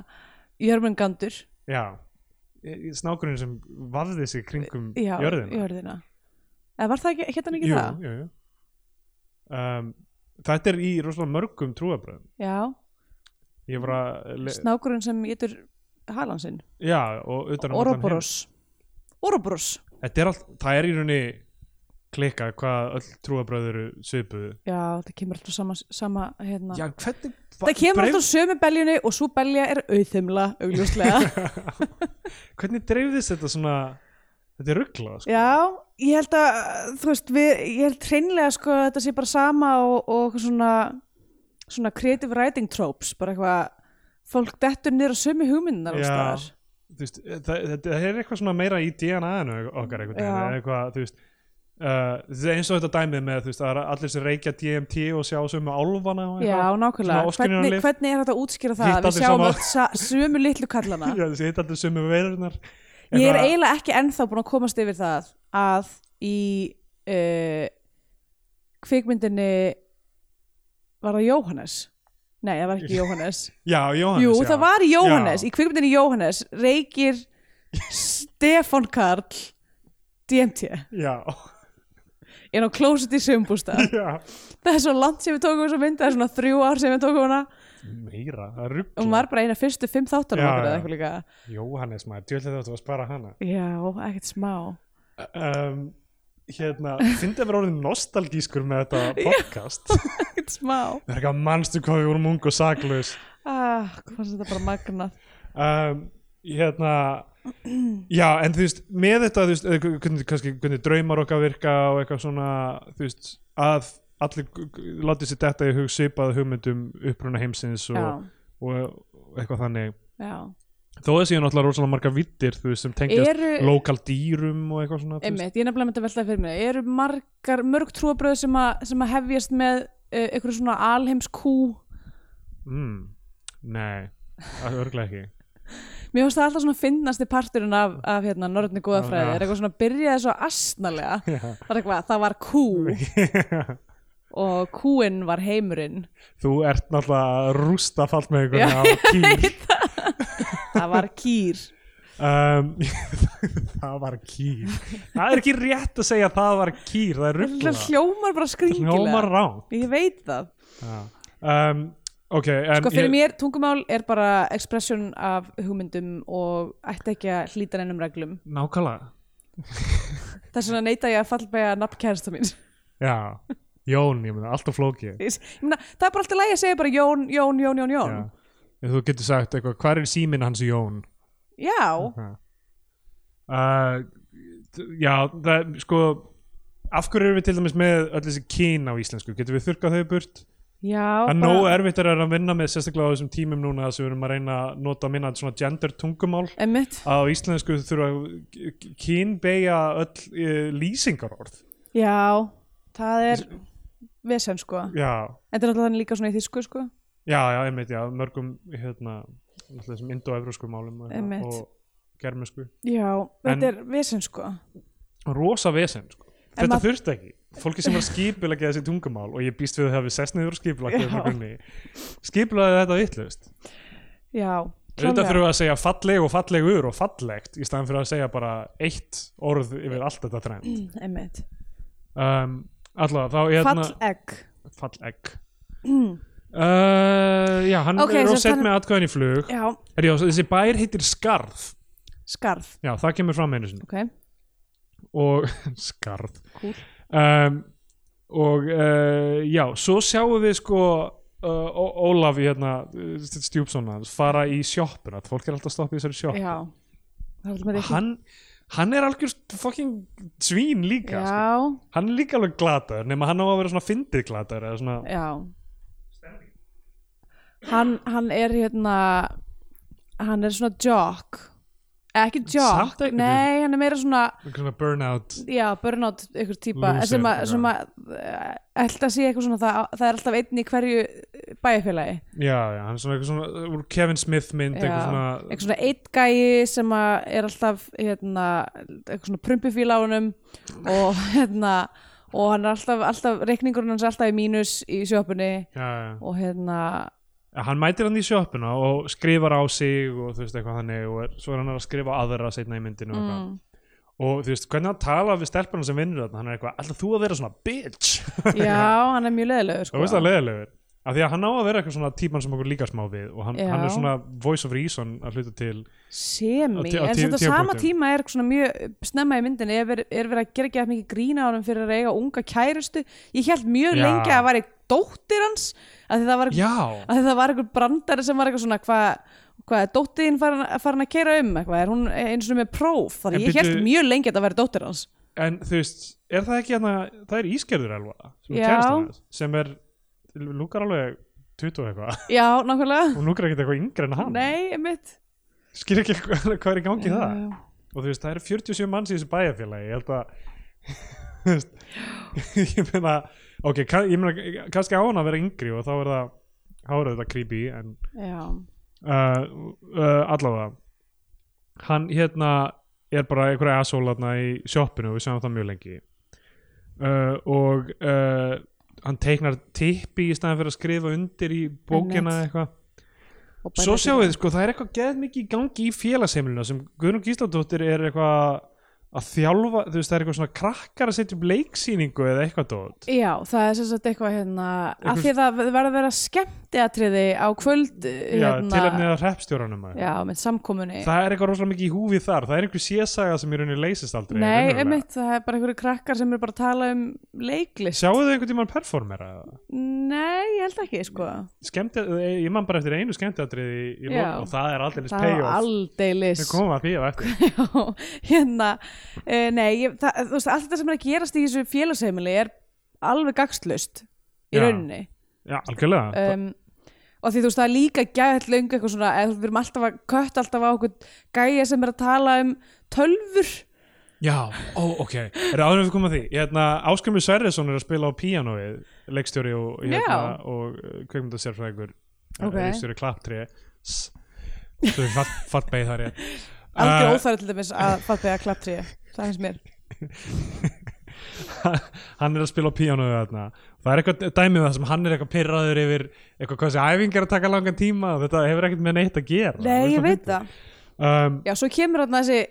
Jörmungandur
já, Í- í snákurinn sem vafði sig kringum
já,
jörðina
jörðina. Eða var það ekki, hétt hann ekki
jú,
það?
jú, jú. Um, þetta er í rosalega mörgum trúabröðum
Já,
ég var að le-
snákurinn sem getur halansinn,
já, og utan um allan heim.
Ouroboros Ouroboros,
þetta er allt, það er í rauninni klika hvað öll trúabröð eru svipuðu
já, það kemur alltaf sama, sama hérna.
Já, hvernig
það kemur
dreif-
alltaf sömu beljunni og svo belja er auðhumla, augljóslega
Hvernig dreifðist þetta svona Þetta er rugglað sko.
Já, ég held að þú veist, við, ég held hreinlega sko að þetta sé bara sama og, og eitthvað svona svona creative writing tropes bara eitthvað, fólk dettur niður á sömu hugmyndunar
Já.
alls staðar.
Þú veist, eh, það, þetta er eitthvað svona meira í DNA-inu okkar einhvern veginn
Já.
eða eitthvað, þú veist Uh, þetta er eins og þetta dæmið með þú veist, að það er allir sem reykja DMT og sjá sömu álfana og
Já,
eitthvað.
nákvæmlega,
Svona óskiljanleg
hvernig,
lyf.
hvernig er þetta að útskýra það
Hitt
að
allir
við sjáum
sama.
öll sa- sömu litlu kallana
Já, þessi hitt allir sömu veirurnar
Ég er
Eitthvað-
eiginlega ekki ennþá búin að komast yfir það að í uh, kvikmyndinni var það Jóhannes Nei, það var ekki Jóhannes
Já, Jóhannes
Jú,
já.
það var í Jóhannes,
Já.
í kvikmyndinni Jóhannes reykir Stefán Karl DMT
Já,
inn á klóset í sömbústa
já
það er svo langt sem við tókum þess að mynda það er svona þrjú ár sem við tókum hana
Meira, það
og
er
hún
ruggla
var bara eina fyrstu fimm þáttan
Já,
okkar
já.
eða eitthvað líka
Jóhannes maður, djöldið þetta var að spara hana
Já, ekkert smá
um, Hérna, fyndið að vera orðin nostalgískur með þetta podcast
Ekkert smá
Það er eitthvað mannstu hvað við vorum ung og saklaus
ah, Hvað fannst þetta bara magnað
um, Hérna Já, en þú veist, með þetta þú veist, eða hvernig, kannski, hvernig draumar okkar virka og eitthvað svona, þú veist að allir g- g- látið sér detta í hug svipað hugmyndum uppruna heimsins og, og, eitthvað þannig
Já, já
þó þessi ég náttúrulega rosalega margar vittir þú veist, sem tengjast
Eru-
lokal dýrum og eitthvað svona þú veist.
Einmitt, ég er nefnilega myndi að velta það fyrir mér eru margar, mörg trúabröð sem, að- sem að hefjast með uh, einhverju svona alheimskú
mm, Nei, það er örglega ekki
mér finnst það alltaf svona finnasti parturinn af, af hérna, norðni góðafræði
Já.
er eitthvað svona byrjaði svo astnalega
Já.
það var eitthvað, það var kú og kúinn var heimurinn
Þú ert náttúrulega að rústa fall með einhverja á kýr
það var kýr
um, það var kýr það er ekki rétt að segja að það var kýr það er ruggla
það hljómar bara skringilega
hljómar rán
ég veit það
um, ok en
sko fyrir
ég,
mér tungumál er bara expression af hugmyndum og ætti ekki að hlýta neinum reglum
nákvæmlega
þess vegna neyta ég að fallbæja nafn kærasta mín
já, Jón, ég meina, alltaf flókið
Ég meina, það er bara alltaf lægi að segja bara Jón, Jón, Jón, Jón, Jón
já. Ef þú getur sagt eitthvað, hvað er síminn hans Jón
já,
uh, t- já, það sko af hverju erum við til dæmis með öll þessi kín á íslensku getum við þurkað þau burt
Já,
En nógu erfitt er að vinna með sérstaklega á þessum tímum núna sem við erum að reyna að nota minna svona gender tungumál
Emmitt,
að á íslensku þurfa að kynbeja öll e, lýsingarorð
já, það er vesen sko.
Já,
Þetta er náttúrulega þannig líka svona í þýsku sko.
já, já, einmitt, já, mörgum hérna, náttúrulega þessum indo-evrósku málum og- hérna,
Einmitt.
og germisku
Já, þetta
En-
er vesen sko.
rosa vesen, sko
En
Þetta
maður-
þurfti ekki, fólki sem var skipulegja þessi tungumál og ég býst við að hafi sest niður og
Já.
skipulegja skipulegja þetta vittlust
Já,
Auðvitað þurfum við að segja falleg og fallegur og fallegt í staðan fyrir að segja bara eitt orð yfir allt þetta trend
Mm. Emmitt,
um, Alla, þá hérna- er
fall egg
Fallegg uh, Já, hann
Mm. Ok,
er
sem
ósett
sagt hann-
með atkvæðin í flug
Já,
er, já, Þessi bær heitir Skarð
skarð,
Já, það kemur fram einu sinni
ok,
og Skarð
cool
um, Og uh, já, svo sjáum við sko uh, Ó- Ólaf í hérna stjúpsson hans fara í sjoppuna Fólk er alltaf að stoppa í þessari sjoppu
Já, það vil maður ekki
hann, hann er algjör fucking svín líka sko.
Já,
Hann er líka alveg glataður nema hann á að vera svona fyndið glataður eða svona
já Hann, hann er hérna hann er svona jock Eh, ekki
Samt
jock,
ekki,
nei, hann er meira svona
einhver svona burnout
já, burnout ykkur típa
Loser,
sem að,
já.
sem að eh, ætla að sé eitthvað svona það, það er alltaf einn í hverju bæjarfélagi
Já, já, hann er svona, eitthvað svona úr Kevin Smith mynd,
Já,
eitthvað svona,
eitthvað svona eitt gæi sem að er alltaf hérna, eitthvað svona prumpufíl á honum og hérna og hann er alltaf, alltaf reikningurinn hans er alltaf í mínus í sjöpunni
já, já.
og hérna
Hann mætir hann í sjoppuna og skrifar á sig og þú veist eitthvað þannig og er, svo er hann að skrifa á aðra seinna í myndinu og, mm. og þú veist, hvernig hann tala við stelpunum sem vinnur þarna, hann er eitthvað, alltaf þú að vera svona bitch,
Já, hann er mjög leðilegur
þú
sko.
veist það leðilegur. Af því að hann á að vera eitthvað svona típan sem okkur líka smá við og hann,
Já.
hann er svona voice of reason að hluta til. Á
Semi,
tí- á
en
tí-
þetta sama
tímapunktum.
tíma er svona mjög snemma í myndinni er verið, er verið að gera ekki að mikið grína á hann fyrir að eiga unga kærustu Ég held mjög
Já.
lengi að það væri dóttir hans að því það var,
Já,
að það var einhver brandari sem var eitthvað svona hvað hvað er dóttiðin farin, farin að keira um eitthvað, er hún eins og með próf þannig
En
ég held
bíddu-
mjög lengi að það væri dóttir hans
en þú veist, er það ekki hérna, það er ískerður elva, sem, er
Já.
kærastan hans, sem er, lúkar alveg 20 og eitthvað.
Já, nákvæmlega,
hún lúkar ekkert eitthvað yngri en hann
nei, einmitt
skil ekki hvað, hvað er í gangi það
Já.
og þú veist, það eru 47 manns í þessu bæjarfélagi ég held að þú veist, ég meina ok, ka- ég meina, kannski á hann að vera yngri og þá er það, þá er þetta creepy en
Já,
uh, uh, allavega hann hérna er bara einhverja assólaðna í sjoppinu og við sjáum það mjög lengi uh, og uh, hann teiknar tippi í staðan fyrir að skrifa undir í bókina
Einmitt.
eitthvað
og bara-
Svo sjáum við, sko, það er eitthvað geð mikið í gangi í félagsheimilina sem Guðrún Gísladóttir er eitthvað að þjálfa, þú veist, það er eitthvað svona krakkar að setja upp leiksýningu eða eitthvað dót.
Já, það er sem sagt eitthvað hérna
Eitthvað-
að því að það verður að vera skemmtiatriði á kvöld
Já,
hérna,
tilefnið að hreppstjóranum að
Já, með samkomunni
Það er eitthvað rosalega mikið í húfi þar, það er einhver sésaga sem í rauninni leysist aldrei.
Nei,
raunverulega.
einmitt, það er bara einhverju krakkar sem eru bara að tala um leiklist
Sjáu þau einhvern tímann performera? eða?
Nei, ég held ekki, sko
Skemmti, eh, ég man bara eftir einu skemmtiatriði í, í
Já.
lókn og það er aldrei
Það er
payoff.
aldeilis
Við komum að því á eftir.
Já, hérna uh, Nei, ég, það, þú veist, allt þetta sem er að gerast í þessu félagsheimili er alveg gagslust í
Já.
rauninni
Já, algjörlega.
um, og því þú veist það er líka gæðt löngu eitthvað svona eða við erum alltaf að kött alltaf á okkur gæja sem er að tala um tölfur
Já, ó, ok Er það áður en við komum að því? Hérna, Áskrimur Sverrisson er að spila á píanóið leikstjóri og, hérna,
Já.
og uh, kveikmyndasérfræðingur
Ok.
okay. leikstjóri klapptri Svo fatt, fatt beigð þar Eh, ég
algjör
Ah.
uh, óþæri til dæmis að fatta að klapptri það finnst mér
Hann er að spila á píanóið þarna Það er eitthvað dæmið um það sem hann er eitthvað pyrraður yfir eitthvað hvað þessi æfing er að taka langan tíma og þetta hefur ekkert með neitt að gera
nei
Þú
ég veit
veist
það
það um,
já svo kemur hann þessi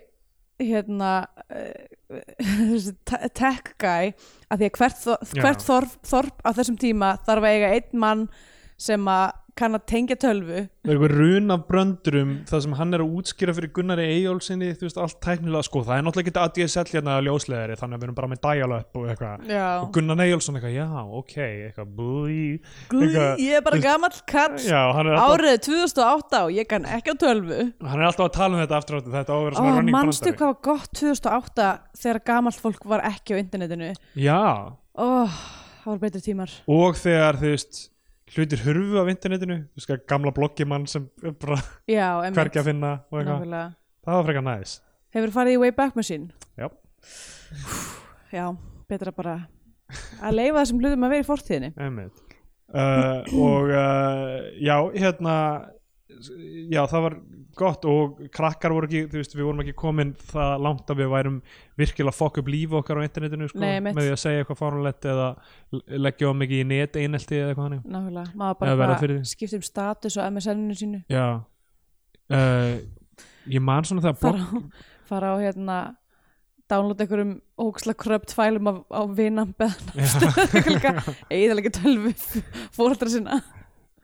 hérna uh, þessi te- tech guy að því að hvert, þor-
Já.
hvert þorp, þorp á þessum tíma þarf að eiga einn mann sem að kann að tengja tölvu
Það er eitthvað run af bröndurum það sem hann er að útskýra fyrir Gunnari Eyjólfsinni þú veist, allt tæknilega, sko, það er náttúrulega ekki ADSL hérna ljóslegari, þannig að við erum bara með dial-up og eitthvað,
já
og Gunnar Eyjólfsson eitthvað, já, ok, eitthvað, búi eitthvað-
ég er bara gamall kall
Já, hann er, alltaf,
árið 2008 og ég kann ekki á tölvu
hann er alltaf að tala um þetta aftur áttu, þetta á að vera
Ó,
svona running
manstu
bröndari
hvað var gott 2008 þegar gamalt fólk var ekki á internetinu
Já,
Ó, það var betri tímar
og þegar, þú veist hlutir hurfu af internetinu þú veist, gamla bloggjumann sem er bara
já, emmitt
hvergi að finna og eitthvað
nákvæmlega.
það var frekar næs
hefur farið í Wayback Machine
Já.
já, betra bara að leifa þessum hlutum að vera í fortíðinni
Einmitt. Uh, og uh, já, hérna já, það var gott og krakkar voru ekki, þú veist, við vorum ekki komin það langt að við værum virkilega að fokk upp líf okkar á internetinu sko,
Nei, einmitt.
með því að segja eitthvað fáránlegt eða l- leggja á mikið í net einelti eða eitthvað hannig
nákvæmlega,
Eða
maður
verða
bara,
fyrir
bara
því.
skipt um status og MSN-inu sínu
já uh, ég man svona þegar blogg,
fara á, fara á hérna download einhverjum óksla kröpt fælum af, á vinambeðan eðalega tölvu fóreldra sinna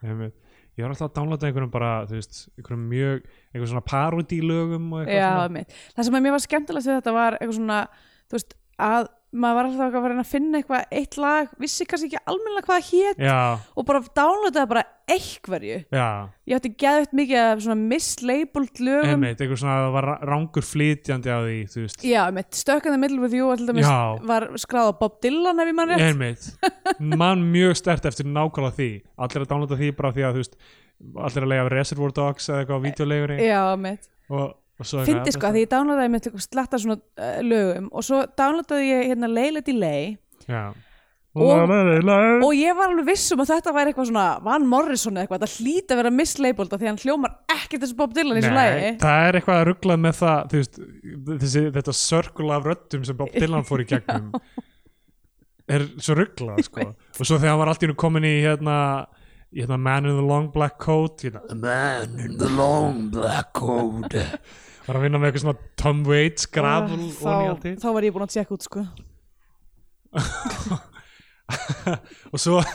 einmitt, ég var alltaf að downloada einhverjum bara, þú veist, einhverjum mjög einhverjum svona parodílögum og eitthvað
Já,
svona
einmitt. það sem að mér var skemmtilegt við þetta var eitthvað svona þú veist, að maður var alltaf að vera að finna eitthvað eitt lag, vissi kannski ekki almennilega hvað það hét
já,
og bara downloadaði bara eitthverju
já
ég átti geðvægt mikið af svona mislabelt lögum
einmitt, einhver svona það var rangur flytjandi á því, þú veist
Já, einmitt, stökkaði middle with you var til dæmis
Já.
var skráð á Bob Dylan ef ég mann rétt
einmitt, mann mjög stert eftir nákvæmlega því, allir að dánlóta því bara því að, þú veist, allir að leiða Reservoir Dogs eða eitthvað á videoleigurinn
Já, einmitt
og, og svo eitthvað
fyndi sko að því ég downloadaði mitt eitthvað slatta svona uh, lögum og svo downloadaði ég hérna Leila Delay
já
sko. Og-
og,
og ég var alveg viss um að þetta væri eitthvað svona Van Morrison eða eitthvað, það hlýti að vera mislabelda því að hann hljómar ekkert þessu Bob Dylan í þessu lagi
það er eitthvað að ruglað með það þú veist, þessi, þetta sörkula af röddum sem Bob Dylan fór í gegnum er svo ruglað sko. og svo þegar hann var allt í hennu komin í hérna, hérna Man in the Long Black Coat hérna,
The man in the long black coat.
var að vinna með eitthvað svona Tom Waits gravel
Ah,
og nýja til
þá, þá var ég búin að tjekka út sko
og svo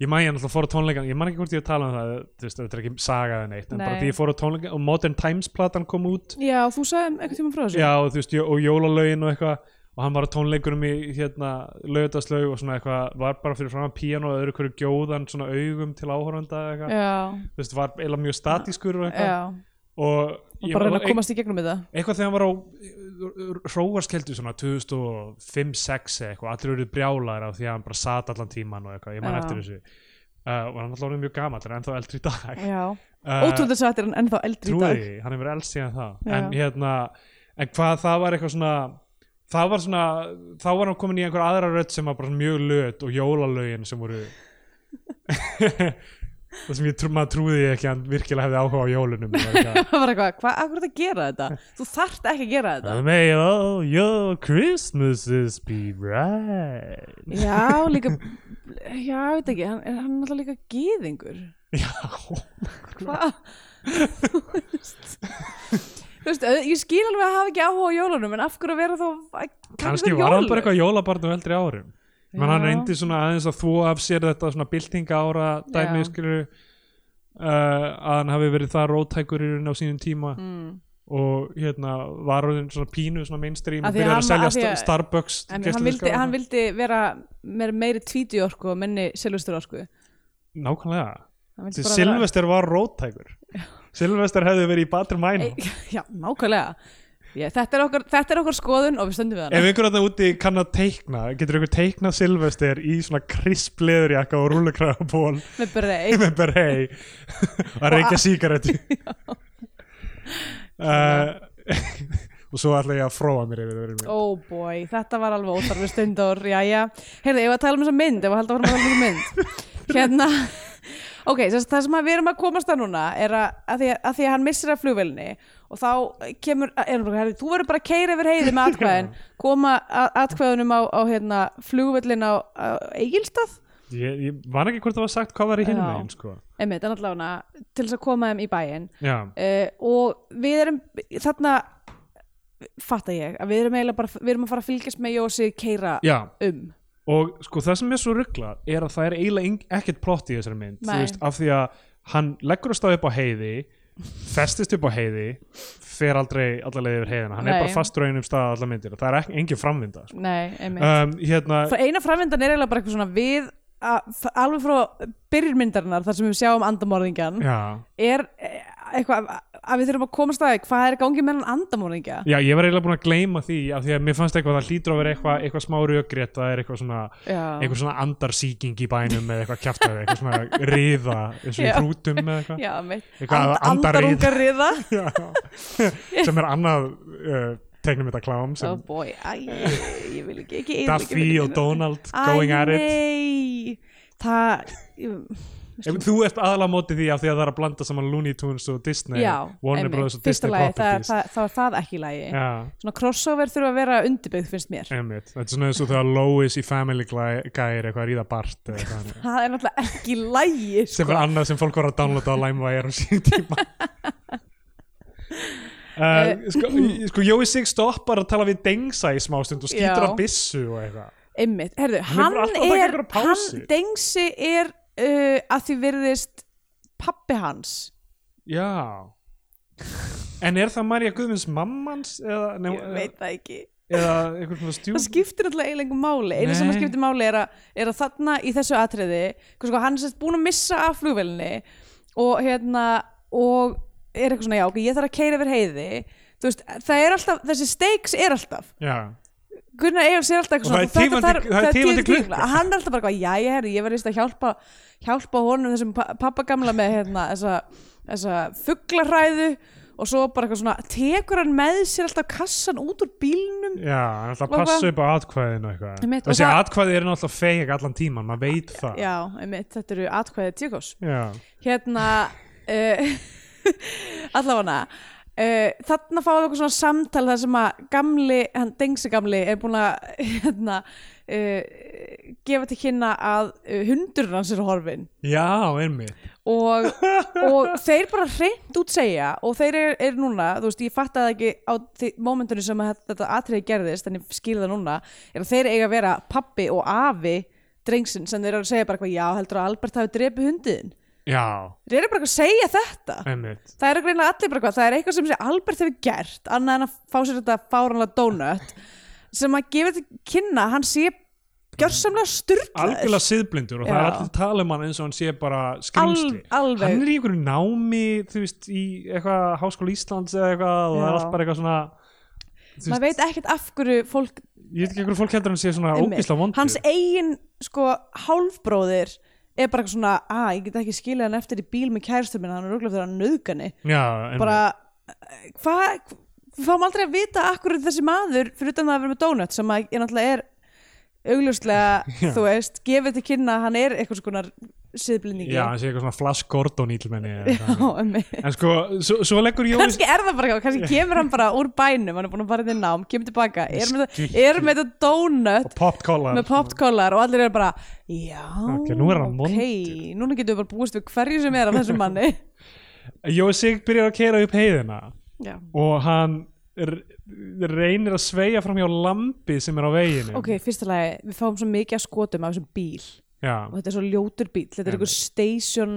ég man ég náttúrulega fór á tónleikan ég man ekki hvort ég tala um það þú veist, þetta er ekki sagaði neitt en bara
Nei.
því ég fór á tónleikan og Modern Times platan kom út
Já, þú sagði einhvern tíma frá þessu
já, og, þú veist, jó- og jólalögin og eitthvað og hann var á tónleikunum í hérna, lögutaslaug og svona eitthvað var bara fyrir fram að píano og öðru hverju gjóðan svona augum til áhorfanda eða eitthvað
já,
þú veist, var eiginlega mjög statískur og
já.
eitthvað og
Og
ég-
bara reyna
og-
að komast í gegnum þetta
eitthvað þegar hann var á eh, hróarskeldu svona 2005-06 eða eitthvað, allir eru brjálaðir af því að hann bara sat allan tíman og eitthvað, ég man
Já.
eftir þessu uh, og hann alltaf orðið mjög gamall en ennþá eldri í dag
Já,
uh,
Mm. ótrúlega þess að þetta er hann ennþá eldri í
trúið
dag
því, hann hefur elst síðan það
Já.
en hérna, en hvað það var eitthvað svona það var svona þá var hann komin í einhver aðra rödd sem var bara svona mjög löt og jólalögin sem voru það sem ég trú, maður trúði ekki að hann virkilega hefði áhuga á jólunum eða eitthvað.
Það var eitthvað, hvað, akkur er þetta að gera þetta? Þú þarft ekki að gera þetta
May all your Christmases be right
Já, líka Já, ég veit ekki, hann er hann er náttúrulega líka gýðingur
Já,
Hvað? Þú veist, auð- ég skil alveg að hafa ekki áhuga á jólunum en af hverju að vera þá að
kannski var hann bara eitthvað jólabarn á eldri árum menn hann reyndi svona aðeins að þvó af sér þetta svona byltinga ára dæmi
Já.
skilur uh, að hann hafi verið það rótækur í raun á sínum tíma
mm.
og hérna var hann svona pínu svona mainstream
Af
og
því
byrjaði
hann-
að selja
af því
sta-
að-
Starbucks
En hann vildi, hann vildi vera meira, meiri tvítiorku og minni silvesturorku
Nákvæmlega,
Hann vildi
Því
bara vera-
Silvester var rótækur Silvester hefði verið í batri mæna
Ei, Já, nákvæmlega ég, þetta, er okkar, þetta er okkar skoðun og við stöndum við hana
Ef einhver að það úti kann að teikna, getur einhver teikna Silvester í svona krisp leðurjakka og rúlukræðaból
með brei
með berhei að reykja sígarettu. uh, og svo ætla ég að fróa mér yfir það verið mér.
Oh boy, þetta var alveg óþarfi stundur Jæja, heyrðu, ég var að tala um þessa mynd Ég var að halda að fara að tala um þessa mynd Hérna Ok, þess, það sem að við erum að komast að núna er að, að, því, að, að því að hann missir af flugvelni og þá kemur eh, er, herri, þú verður bara að keira yfir heiði með atkvæðin koma að- atkvæðunum á, á hérna, flugvellin á, á Egilstað
Ég, ég man ekki hvort það var sagt hvað var í hinum
Já.
meginn, sko.
einmitt, en allavega til þess að koma þeim í bæinn
Já,
uh, og við erum þarna fatta ég að við erum eiginlega bara við erum að fara að fylgjast með Jósi keira
já.
um
Og sko það sem er svo rugglað er að það er eiginlega eng- ekkert plott í þessari mynd, þú
Nei.
veist, af því að hann leggur að staða upp á heiði, festist upp á heiði, fer aldrei allarlega yfir heiðina, hann er
Nei.
bara fastur á einum stað allar myndir og það er ekki, engin framvinda, sko.
Nei, einmitt
um, hérna,
uh, Eina framvindan er eiginlega bara eitthvað svona við að, f- alveg frá byrjunmyndarinnar þar sem við sjáum andamorðingjan
já,
er eh, e, eitthvað að við þurfum að komast að því hvað er gangið með hann andamorðingja
Já, ég var eiginlega búin að gleyma því af því að mér fannst eitthvað, það hlýtur að vera eitthvað eitthvað smá rökrétt, það er eitthvað svona
já.
eitthvað svona andarsýking í bænum eða eitthvað kjaftaði, eitthvað svona riða eins og í
Já.
hrútum eða eitthvað
Já, mitt.
Eitthvað
And-
andarið.
andarungariða
Já. sem er annað uh, tegnum þetta klám
oh
sem
boy, æ, ég vil ekki, ekki eyðileggja
Daffy
fyrir
og
neinu.
Donald going at
Æ,
it
nei, það ég,
Ef þú ert aðalega móti því af því að það er að blanda saman Looney Tunes og Disney
já,
Warner
einmitt.
Brothers og
Fyrsta
Disney
lagi, það,
Properties
það, þá er það ekki í lagi
Já,
svona crossover þurfa að vera undirbyggð finnst mér
einmitt Þetta er svona eins og þegar Lois í Family Guy Guy er eitthvað að ríða Bart eða eitthvað annað.
það er náttúrulega ekki í lagi sko.
sem er annað sem fólk voru að downloada á LimeWire á síðan tíma
Eh.
Uh, sko, í- sko Jói Sig stoppar að tala við Dengsa í smástund og skýtur
Já.
að bissu og eitthvað
einmitt, herðu,
Hann
hann,
hefur alltaf að taka
er
einhverja pásu.
hann, Dengsi er uh, að því verðist pappi hans
Já En er það Marja Guðvins mammans eða, nef,
ég veit það ekki
eða einhvern svona stjúf
það skiptir alltaf eiginlega einhver máli einu sem
Nei.
að skiptir máli er að, er að þarna í þessu atriði hvað sko, hann er sérst búin að missa af flugvelinni og hérna og er eitthvað svona já, ok, ég þarf að keira yfir heiði þú veist, það er alltaf, þessi stakes er alltaf
Já,
Gunnar Eyjálfs er alltaf
Og
eitthvað svona, þú- þetta
það er tifandi-
þarf-
það er tifandi
tifandi
klukka.
klukka. hann er alltaf bara eitthvað, já, ég herri, ég verðist að hjálpa hjálpa honum þessum pappa gamla með hérna, þessa, þessa fugglarræðu og svo bara eitthvað svona tekur hann með sér alltaf kassan út úr bílnum
já, hann ætla að
Og
passa
hvað-
upp á atkvæðinu og eitthvað
Einmitt, og
Þessi
það-
atkvæði eru náttúrulega feig allan tíman, maður veit það
já, einmitt, þetta eru atkvæðið tíkos
Já,
hérna uh, allafana Uh, þarna fáum við eitthvað svona samtal þar sem að gamli, hann dengsi gamli er búin að hérna, uh, gefa til kynna að uh, hundurinn hans er horfin
já einmitt
og, og þeir bara hreint út segja og þeir eru er núna, þú veist, ég fatta það ekki á því- momentunum sem að þetta atriði gerðist en ég skil það núna, er að þeir eiga að vera pappi og afi drengsin sem þeir eru að segja bara eitthvað, já, heldur að Albert hafi drepið hundiðin
Já,
þeir eru bara eitthvað að segja þetta
einmitt
það eru greinlega allir bara hvað, það er eitthvað sem sé Albert hefur gert, annað en að fá sér þetta fáranlega donut sem að gefa til kynna, að hann sé gjörsamlega
Algjörlega
styrklaður
siðblindur og það er
Já.
allir að tala um hann eins og hann sé bara skrýmsli
Al- alveg.
Hann er í einhverju námi, þú veist, í eitthvað Háskóla Íslands eða eitthvað og það er
Já.
allt bara eitthvað svona þú
maður
veist,
veit ekkert af hverju fólk
Ég veit ekki einhverju fólk heldur að hann sé svona
Einmitt.
ógisla vondur
hans eigin sko hálfbróðir er bara eitthvað svona, að ég get ekki skilja hann eftir í bíl með kærastur minna, hann er rúglega fyrir að nöðgani
Já, einmitt.
bara, eh, hvað við fáum aldrei að vita akkur þessi maður fyrir utan það að vera með donut sem að ég náttúrulega er augljóslega, þú veist, gefið til kynna að hann er eitthvað svona siðblindingi
Já, hann sé eitthvað svona Flash Gordon ítlmenni eða
Já,
eitthvað.
einmitt.
En sko, svo, svo leggur Jói
kannski er það bara eitthvað, kannski kemur hann bara úr bænum hann er búin að fara inn í nám, kemur tilbaka er með,
Skikki.
er með þetta donut
Popped Collar
með popkólar og allir eru bara já,
Ok, nú er hann
ok, núna getum við bara búist við hverju sem er af þessum manni
Jói Sig byrjar að keira upp heiðina
já.
og hann r- reynir að sveia fram hjá lampi sem er á veginu
ok, fyrsta lagi, við fáum svo mikið að skotum af þessum bíl
Já,
og þetta er svo ljótur bíl, þetta er einhver station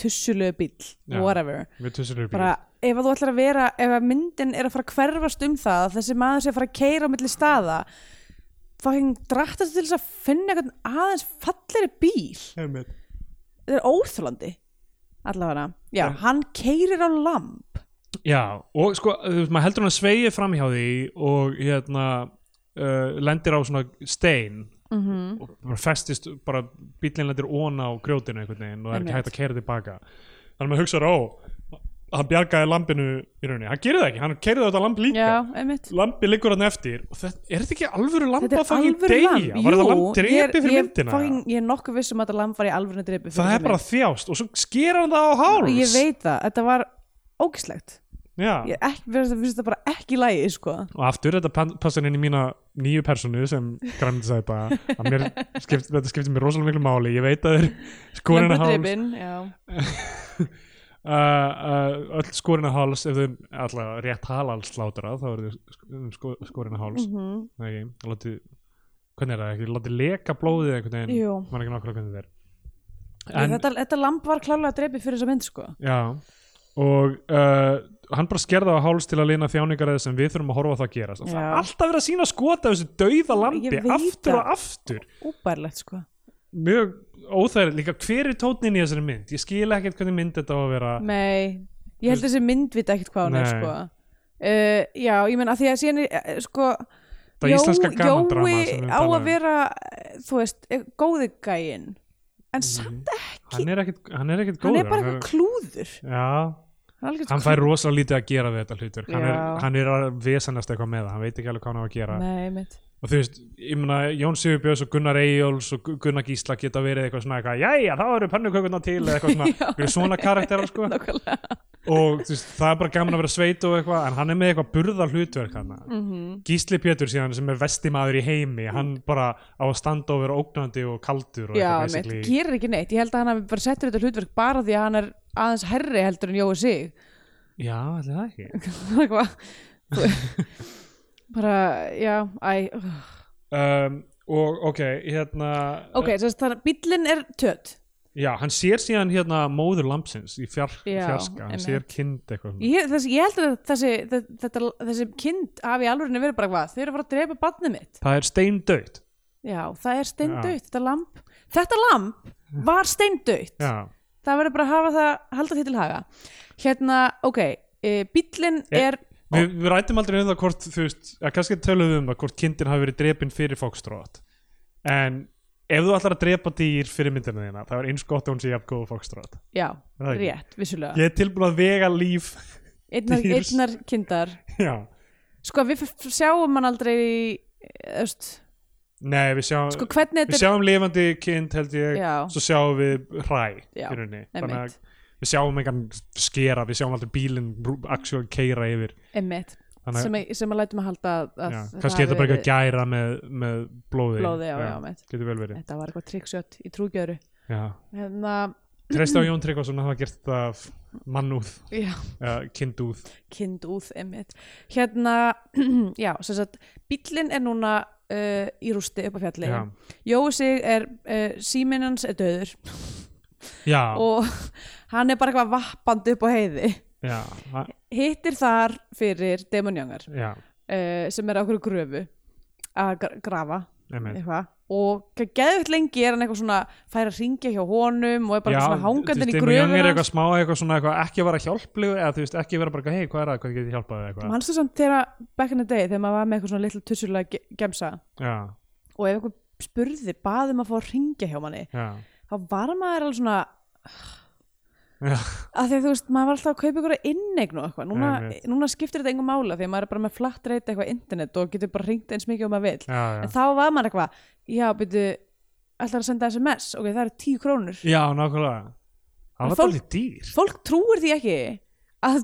tussulegu bíl,
Já.
whatever
við tussulur bíl
bara ef að þú ætlar að vera ef að myndin er að fara að hverfast um það að þessi maður sé að fara að keira á milli staða fucking drattast til þess að finna eitthvað aðeins falleri bíl
Einmitt.
þetta er óþjólandi allavega, já,
Já.
hann keirir á lamp
Já, og sko, þú veist, maður heldur hann að sveigi fram hjá því og hérna uh, lendir á svona stein
mhm
og bara festist, bara bílinn lendir óna á grjótinu einhvern veginn og það er ekki
Einmitt.
hægt að keira tilbaka þannig að maður hugsa ó, hann bjargaði lampinu í rauninni, hann gerir það ekki, hann keirði þetta lamp líka
Já, einmitt
lampi liggur hann eftir og þetta, er þetta ekki alvöru lamp
Þetta
að
er
fangin
alvöru
deyja?
lamp
Var þetta
Jú,
lamp
ég er-
drepi fyrir
ég er
myndina?
fucking- Ég er nokkuð viss um að þetta lamp var í alvöru drepi fyrir
það er
þessa
bara
mynd.
þjást og svo sker hann það á háls
Ég veit það, þetta var ógislegt
Já.
Ég er ekki, verðist að finnst þetta bara ekki í lagi sko.
og aftur þetta pan- passar inn í mína nýju personu sem græmdisæpa að mér skipt, þetta skiptir mér rosalega miklu máli ég veit að þeir
Lamb er
skorina háls uh,
drepinn, já.
uh, öll skorina háls ef þau alltaf rétt halals slátra þá eru þau sk- um sko, skorina háls mm
Mhm.
-hmm. ekki, láti, hvernig er það ekki, látið leka blóðið einhvern veginn,
Jú.
maður ekki nákvæmlega hvernig þetta er
Ég, Þetta, þetta lamp var klálega drepi fyrir þessa mynd sko.
Já, og uh, hann bara skerða á háls til að lina þjáningar eða sem við þurfum að horfa á það gerast og það
Já.
er alltaf verið að sína skota þessu dauða lampi
Ég veit
aftur
það.
og aftur
Úbærlegt sko.
mjög óþægilegt, líka hver er tótnin í þessari mynd ég skil ekkert hvernig mynd þetta á að vera
Nei, ég ég held þessi mynd vita ekkert hvað hún er
Nei.
sko. uh, já, ég menn að því að síðan er, eh, sko,
Það íslenska gamandrama
Jói
sem við
á
talaðum
að
um.
vera eh, þú veist, eh, góði gæinn en
Mm.
samt
hann er ekkit, hann er ekkit
hann
góður
er bara eitthvað klúður
já,
hann er algjört
hann fær rosa lítið að gera við þetta hlutur hann er,
Já.
hann er að vesanast eitthvað með það hann veit ekki alveg hvað hann á að gera
Nei, mitt.
og þú veist, ég meina Jón Sigurbjörns og Gunnar Eyjóls og Gu- Gunnar Gísla geta verið eitthvað svona eitthvað, jæja, þá eru pannukökurna til eða eitthvað svona,
Já.
eitthvað svona karakterar sko
nákvæmlega
og þú veist, það er bara gaman að vera sveit og eitthvað, en hann er með eitthvað burða hlutverk hann
Mhm.
Gísli Pétur síðan sem er vestimaður í heimi, hann bara á að standa og vera ógnandi og kaldur og
Já,
eitthvað
mitt,
basically.
gerir ekki neitt, ég held að hann hafi bara settur þetta hlutverk bara því að hann er aðeins herri heldur en Jói sig
Já, ætli það ekki
Bara eitthvað þú- bara, já, æ
um, og ok, hérna
ok, þess, þannig að bíllinn er tött
já, hann sér síðan hérna móður lampsins í fjar,
Já,
fjarska, hann
einmitt.
sér kind eitthvað svona.
ég, þess, ég held að þessi, þe- þetta, þessi kind hafi alveg verið bara hvað, þau eru að fara að drepa barnið mitt
það er steindautt
já, það er steindautt, þetta lamp þetta lamp var steindautt
já,
það verður bara að hafa það, halda því til haga hérna, ok, e, bíllinn
Eh,
er
Við, við rætum aldrei um það hvort þú veist, að kannski töluðum við um það hvort kindin hafi verið drepin fyrir fókstrót en ef þú ætlar að drepa dýr fyrir myndina þína, það er eins gott að hún sé jafn góð fókstrót.
já,
Það er ekki.
rétt, vissulega
Ég er tilbúin að vega líf
einnar,
dýrs.
einnar kindar
Já,
sko, við f- f- sjáum hann aldrei eh, öst,
nei, við sjáum
sko, hvernig
við
þetta
sjáum lifandi kind held ég
Já.
svo sjáum við hræ
Já,
í rauninni.
einmitt.
þannig að við sjáum engan skera, við sjáum aldrei bílinn brú- actual keira yfir
er emitt,
Þannig að-
sem, að- sem að lætum að halda að, að
Já,
þetta
kannski er
hafi
þetta bara
verið-
eitthvað gæra með, með blóði
Blóði, já, já, einmitt.
getur vel verið
þetta var eitthvað triksjött í trúgjöru
já.
hérna,
Treysta á Jón Tryggvason að hafa gert þetta af mannúð,
já
uh, kindúð
kind úð einmitt hérna, já, sem sagt bíllinn er núna uh, í rústi upp á fjalli
Já.
Jói sig er, uh, síminn hans er döður
Já,
og hann er bara eitthvað vappandi upp á heiði
já, a-
hittir þar fyrir demonjöngar
já,
uh, sem er á okkur gröfu að gra- grafa
einmitt
eitthvað og geðvægt lengi er hann eitthvað svona fær að ringja hjá honum og er bara
Já,
eitthvað svona hangandinn í
Þú veist,
gröfu
Young er
hans
eitthvað smá eitthvað svona eitthvað ekki að vera hjálplegu eða þú veist ekki vera bara eitthvað, hei, hvað er það, hvað getur ég hjálpað þér?" eitthvað
mannstu samt þegar back in the day þegar maður var með eitthvað svona litla tussulega ge- gemsa
Já,
og ef einhver spurði baðum að fá að ringja hjá manni
já,
þá var maður alveg svona
já,
að því að þú veist, maður var alltaf að kaupa ykkur innegn og eitthvað, núna,
Einmitt.
núna skiptir þetta engum mála því að maður er bara með flatt reyta eitthvað internet og getur bara ringt eins mikið og maður vill
já, já.
en þá var maður eitthvað, já, byrju ætlar að senda SMS, ok, það eru tíu krónur
Já, nákvæmlega Það var
Fólk-
dálítið dýr
fólk trúir því ekki að,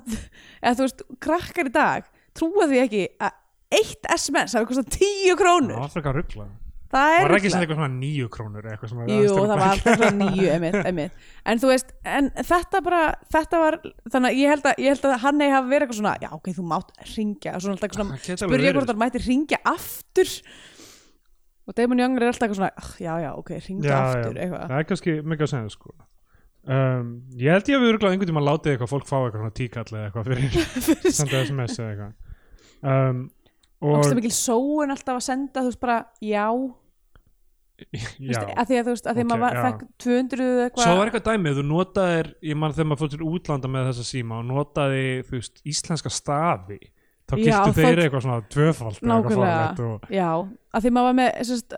eða þú veist, krakkar í dag trúa því ekki að eitt SMS hafi kostað tíu
Það
krónur
var frekar ruggla
það
Það
er
var ekki
ruglað.
sem eitthvað svona níu krónur eða eitthvað sem
Jú, það var alltaf svona nýju einmitt, einmitt. en þú veist, en þetta bara þetta var, þannig að ég held að, ég held að hann eigi hafa verið eitthvað svona, já ok, þú mátt ringja, svona alltaf eitthvað
Það geta
svona
alveg
spurja
verið.
hvort hann mætti ringja aftur og Damon Young er alltaf eitthvað svona "Ah, já, já, ok, ringja aftur, eitthvað
Það er kannski mikið að segja sko um, Ég held ég að við örgulega einhvern tímann látið eitthvað fólk fá eitthvað svona tíkall eða eitthvað fyrir senda sms eða eitthvað um, og
og mikil sóun alltaf að senda, þú veist, bara já,
já,
að því að þú veist, að því
Ok,
að maður var-
já.
fekk 200 eða
svo var
eitthvað
eitthvað dæmi þú notaðir, ég man þegar maður fór til útlanda með þessa síma og notaði þú veist, íslenska stafi þá
Já,
giltu
það-
þeir eitthvað svona tvöfald eða eitthvað fáránlegt
nákvæmlega,
og,
já að því maður var með, sérst,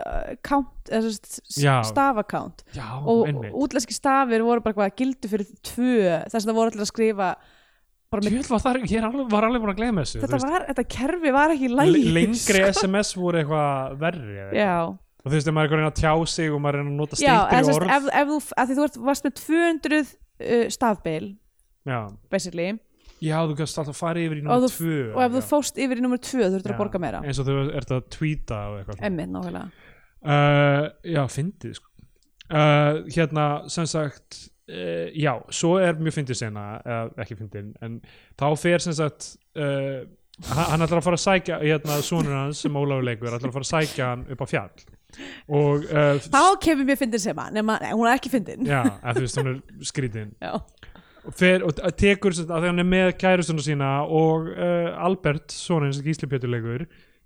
count, sérst,
Já.
stafakount
já,
og
einmitt
útlenski stafir voru bara eitthvað gildu fyrir tvö þess að það voru allir að skrifa bara með,
Jöfull var það, ég er alveg, var alveg búin að gleyma þessu þú
þetta,
veist.
var, þetta kerfi var ekki í
Le-
lægi
lengri sms voru eitthvað verri eða eitthvað.
já,
og þú veist, ef maður er eitthvað að reyna að tjá sig og maður er að reyna að nota
já eða
stýpir
sem
orð
sagt, ef, ef þú, að því þú ert- varst með 200 uh, stafbeil
já.
basically,
já, þú kannst alltaf fara yfir í
Og
nummer
þú-
2
og ef þú fóst yfir í nummer 2 þú ert að borga meira
eins og þú ert að tweeta og eitthvað
emmitt nákvæmlega
uh, já, fyndið sko. uh, hérna, sem sagt uh, já, svo er mjög fyndið sena uh, ekki fyndin, en þá fer sem sagt uh, hann hann ætlar að fara að sækja hérna, sonur hans sem Ólafur leikur, ætlar að fara að sækja hann upp á fjall og uh,
þá kemur mér fyndin sem að, nema, nei, hún er ekki fyndin
já, að þú veist, hún er skrítin
já,
og fer og t- tekur sem sagt, að því hann er með kærustuna sína og uh, Albert, sonin sem Gísli Pétur leikur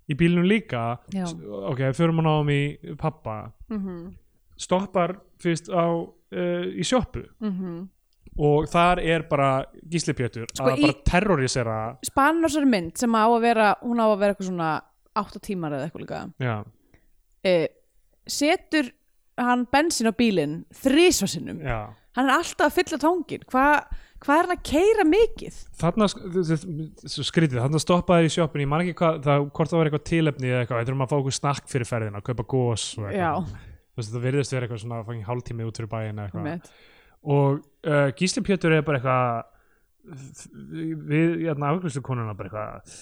í bílnum líka
Já. Mhm.
S- ok, förum hann á um í pappa stoppar fyrst á uh, í sjoppu
mhm
og þar er bara Gísli Pétur
Sko, í-
að bara terrorisera
Spanin á þessari mynd sem á að vera hún á að vera eitthvað svona 8 tímar eða eitthvað líka
já,
uh, setur hann bensin á bílinn þrísvarsinnum
já.
hann er alltaf að fylla tangin hvað hva er hann að keira mikið
þarna sk- þ- þ- þ- skrítið, þarna stoppaði í sjoppunni ég man ekki hvað, það, hvort það var eitthvað tilefni eða eitthvað, þetta er maður að fá okkur snakk fyrir ferðina kaupa gós og
já,
eitthvað Þú veist, það virðist vera eitthvað svona fangin hálftími út fyrir bæin eitthvað
einmitt.
og uh, Gísli Pétur er bara eitthvað við hérna afgjörslu konuna bara eitthvað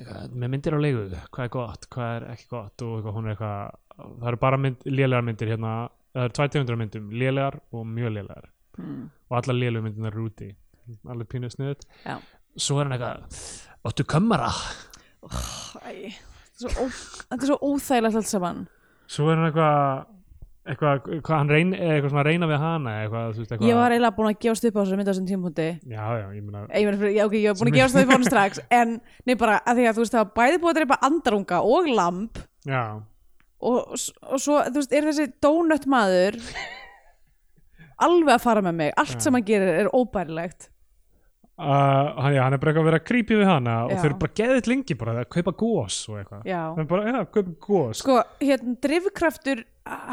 já, með myndir á leigu, hvað er gott, hvað er ekki gott og eitthvað, hún er eitthvað það eru bara mynd, lélegar myndir hérna það eru 200 myndum, lélegar og mjög lélegar
Mm.
og allar lélegu myndina eru úti alveg pínu sniðut
Já.
svo er hann eitthvað, áttu kamera
Æ, þetta er svo ó- þetta er svo óþægilegt allt saman
svo er hann eitthvað eitthvað, hvað hann reyna eitthvað svona að reyna við hana eitthvað, þú veist, eitthvað
ég var eiginlega búin að gefast upp á þessari mynd á þessum tímpúndi
já, já, ég meina
ég, meina, fyrir- já, okay, ég var búin að gefast upp á hann strax en nei bara að því að þú veist það var bæði búið að dreipa andarunga og lamp
já,
og, og svo þú veist er þessi donut maður alveg að fara með mig allt sem hann gerir er óbærilegt
uh, hann, já, hann er bara eitthvað að vera creepy við hana
Já.
og þau eru bara geðið lengi bara að kaupa gós og eitthvað
já
Þau eru bara, já, kaupa gós
sko hérna drifkraftur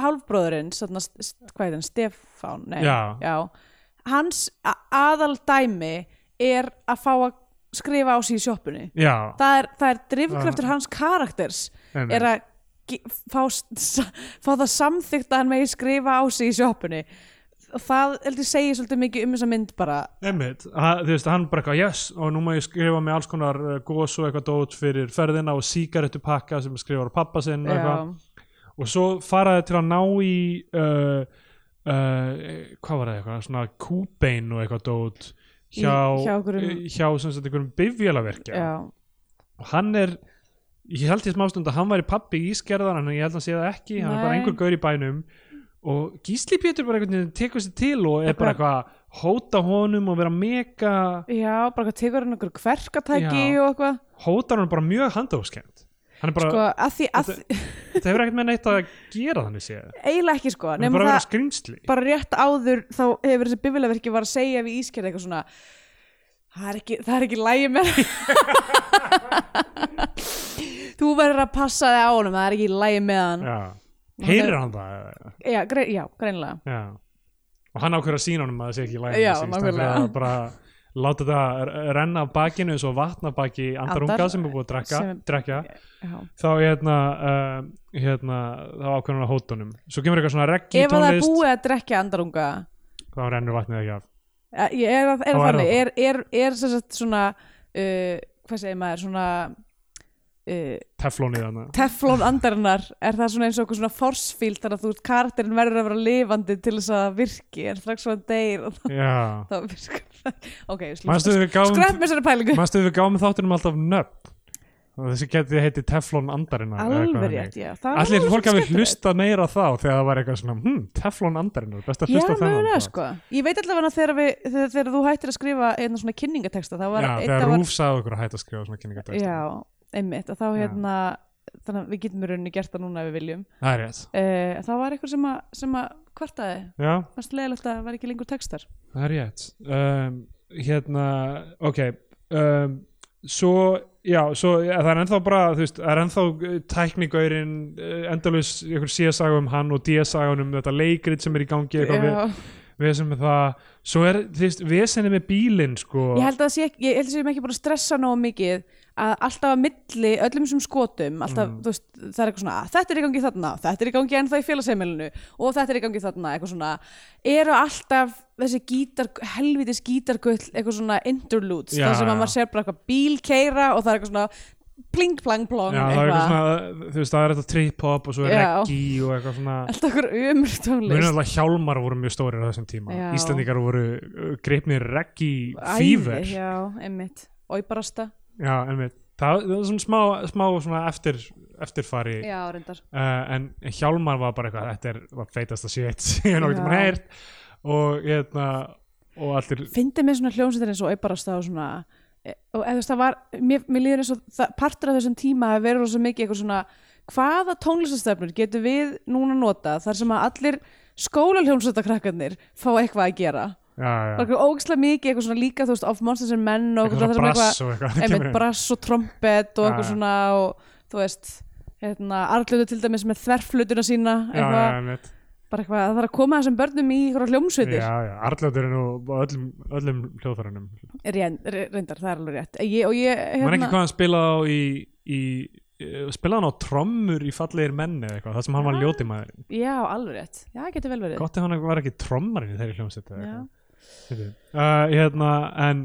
hálfbróðurinn svona, s- hvað er hann, Stefán nei,
Já.
hans a- aðal dæmi er að fá að skrifa á sig í sjoppunni
já,
það er, það er
Ah.
drifkraftur hans karakters
Einmitt.
er að ge- fá, s- s- fá það samþygt að hann megi skrifa á sig í sjoppunni og það heldur segir svolítið mikið um þessa mynd bara
emmitt þú veist, hann bara eitthvað, yes, og nú má ég skrifa með alls konar uh, gós og eitthvað dót fyrir ferðina og sígarettu pakka sem skrifar á pappa sinn og eitthvað,
já,
og svo faraði til að ná í uh, uh, hvað var það eitthvað, svona kúbein og eitthvað dót
Í-
hjá,
hjá einhverjum-
hjá sem sagt einhverjum bifjalaverkja
já,
og hann er ég held í smástund að hann væri pappi ískerðan en ég held að hann sé það ekki, hann er bara
Nei.
einhver gaur í bænum og Gísli Pétur bara einhvern veginn tekur sér til og er
Bara-
bara eitthvað að hóta honum og vera mega
já, bara hvað tegur hann einhver kverkatæki
Já.
og eitthvað
hótar hann bara mjög handóskend hann er bara,
sko, að því, að
Þetta- þetta hefur ekkert með neitt að gera þannig sé hann
eiginlega ekki sko
er
nema
bara að vera
það,
skrýmsli
bara rétt áður þá hefur þessi bifilaverki var að segja við ískerði eitthvað svona það er ekki, það er ekki lægi með þú verður að passa þig á honum það er ekki lægi með hann já,
já. heyrir hann það
grein, já greinlega
já. og hann ákveður að sína honum að það sé ekki í
Já,
lægin
nákvæmlega.
bara láta þetta r- renna af bakinu eins og vatna af baki andarunga
Andar-
sem er búið að drekka,
sem-
drekka.
já.
þá hérna, uh, hérna þá ákveðan að hótunum svo kemur eitthvað svona reggi
ef að það er
tónlist
búið að drekja andarunga
þá rennur vatnið ekki af
eh, ég er, er,
Þá
er
er
þannig
það
er, er, er sem sagt svona uh, hvað segir maður svona uh,
teflónið hana
teflón andarinnar er það svona eins og okkur svona forsfíld þar að þú veist karakterin verður að vera lifandi til þess að það virki en strax svo að deyr og þá,
já
þá virkar það ok, ég slúta.
manstu við
skrepp
gáum
með þessari pælingu
manstu við gáum þáttunum alltaf nöpp þessi getið heiti teflón andarinnar eða eitthvað
alveg
þannig.
rétt, já það var
Allir
alveg
fólk hafi
skemmtilegt.
hlusta meira þá þegar það var eitthvað svona, hm, teflón andarinnar best að
já,
hlusta á þennan
mögulega
þátt.
sko ég veit allavega þegar, við, þegar, þegar þú hættir að skrifa einna svona kynningateksta þá var
Já,
einn-
þegar
það var-
Rúf sagði okkur að hætta að skrifa svona kynningatekst
já, einmitt, að þá
Já.
hérna þannig að við getum í rauninni gert það núna ef við viljum
Það er rétt
uh, þá var eitthvað sem að, sem að kvartaði
Já,
fannst leiðilegt að það var ekki lengur textar
það er rétt um, Hérna, ok um, Svo, já, svo ja, það er ennþá bara, þú veist, það er ennþá eh, tæknigaurinn, eh, endalaus ykkur síðasaga um hann og díasaga um þetta leikrit sem er í gangi, eitthvað við,
Já.
vesen með það Svo er, þú veist, vesenið með bílinn, sko
Ég held að það sé ekki, ég held að það sé ekki búin að stressa nógu mikið að alltaf að milli öllum sem skotum, alltaf,
Mm.
þú veist, það er eitthvað svona, "Ah, þetta er í gangi þarna, þetta er í gangi ennþá í félagsheimilinu og þetta er í gangi þarna, eitthvað svona, eru alltaf þessi gítar, helvitis gítargull, eitthvað svona interludes,
Já,
þar sem
já.
að maður sér bara eitthvað bíl keira og það er eitthvað svona pling plang plong,
Já, það er eitthvað svona, þú veist, það er þetta trip-hop og svo er
Já.
reggi og eitthvað svona
alltaf eitthvað umur
Muna
tónlist.
alveg að hjálmar voru mjög stórir á þessum tíma
Já.
Íslendingar voru uh, greipnir reggi
Æði,
fýver Já,
já, einmitt, og í barasta,
einmitt Það, það var svona smá, smá svona eftir, eftirfari uh,
já, reyndar.
en hjálmar var bara eitthvað þetta er, var feitast að shit ég er nokkert
Já.
mann heyrt og hérna og allir
fyndið mér svona hljómsveitir eins og auðbarast og svona e- og eða það var, mér, mér líður eins og það, partur af þessum tíma hafi verið rosa mikið eitthvað svona hvaða tónlistastöfnur getum við núna nota þar sem að allir skóla hljómsveitakrakkarnir fá eitthvað að gera
já,
var
já.
eitthvað ógislega mikið eitthvað svona líka þú veist of Monsters and Men og
Eitthvað
eitthvað,
svona
það sem
brass og eitthvað kemur
einmitt
inn.
brass og trompet og
Já,
eitthvað
já.
svona og þú veist hérna, arlötu til dæmis með þverflutuna sína
já,
eitthvað,
já, einmitt.
bara eitthvað, það þarf að koma þessum börnum í eitthvað hljómsveitir,
já, já, Arljóturinn og öllum, öllum hljóðfærunum hérna.
Rén, re- reyndar, það er alveg rétt ég, og ég,
maður ekki
hérna,
hvað hann spilaði á í, í eh, spilaði hann á trommur í fallegir menni eða eitthvað, það sem hann var ljóti maður
já, alveg rétt já, getur vel verið
gott ef hann var ekki trommarinn í þeirri hljómsveit eða
Já.
eitthvað. Fyndið. uh, hérna, en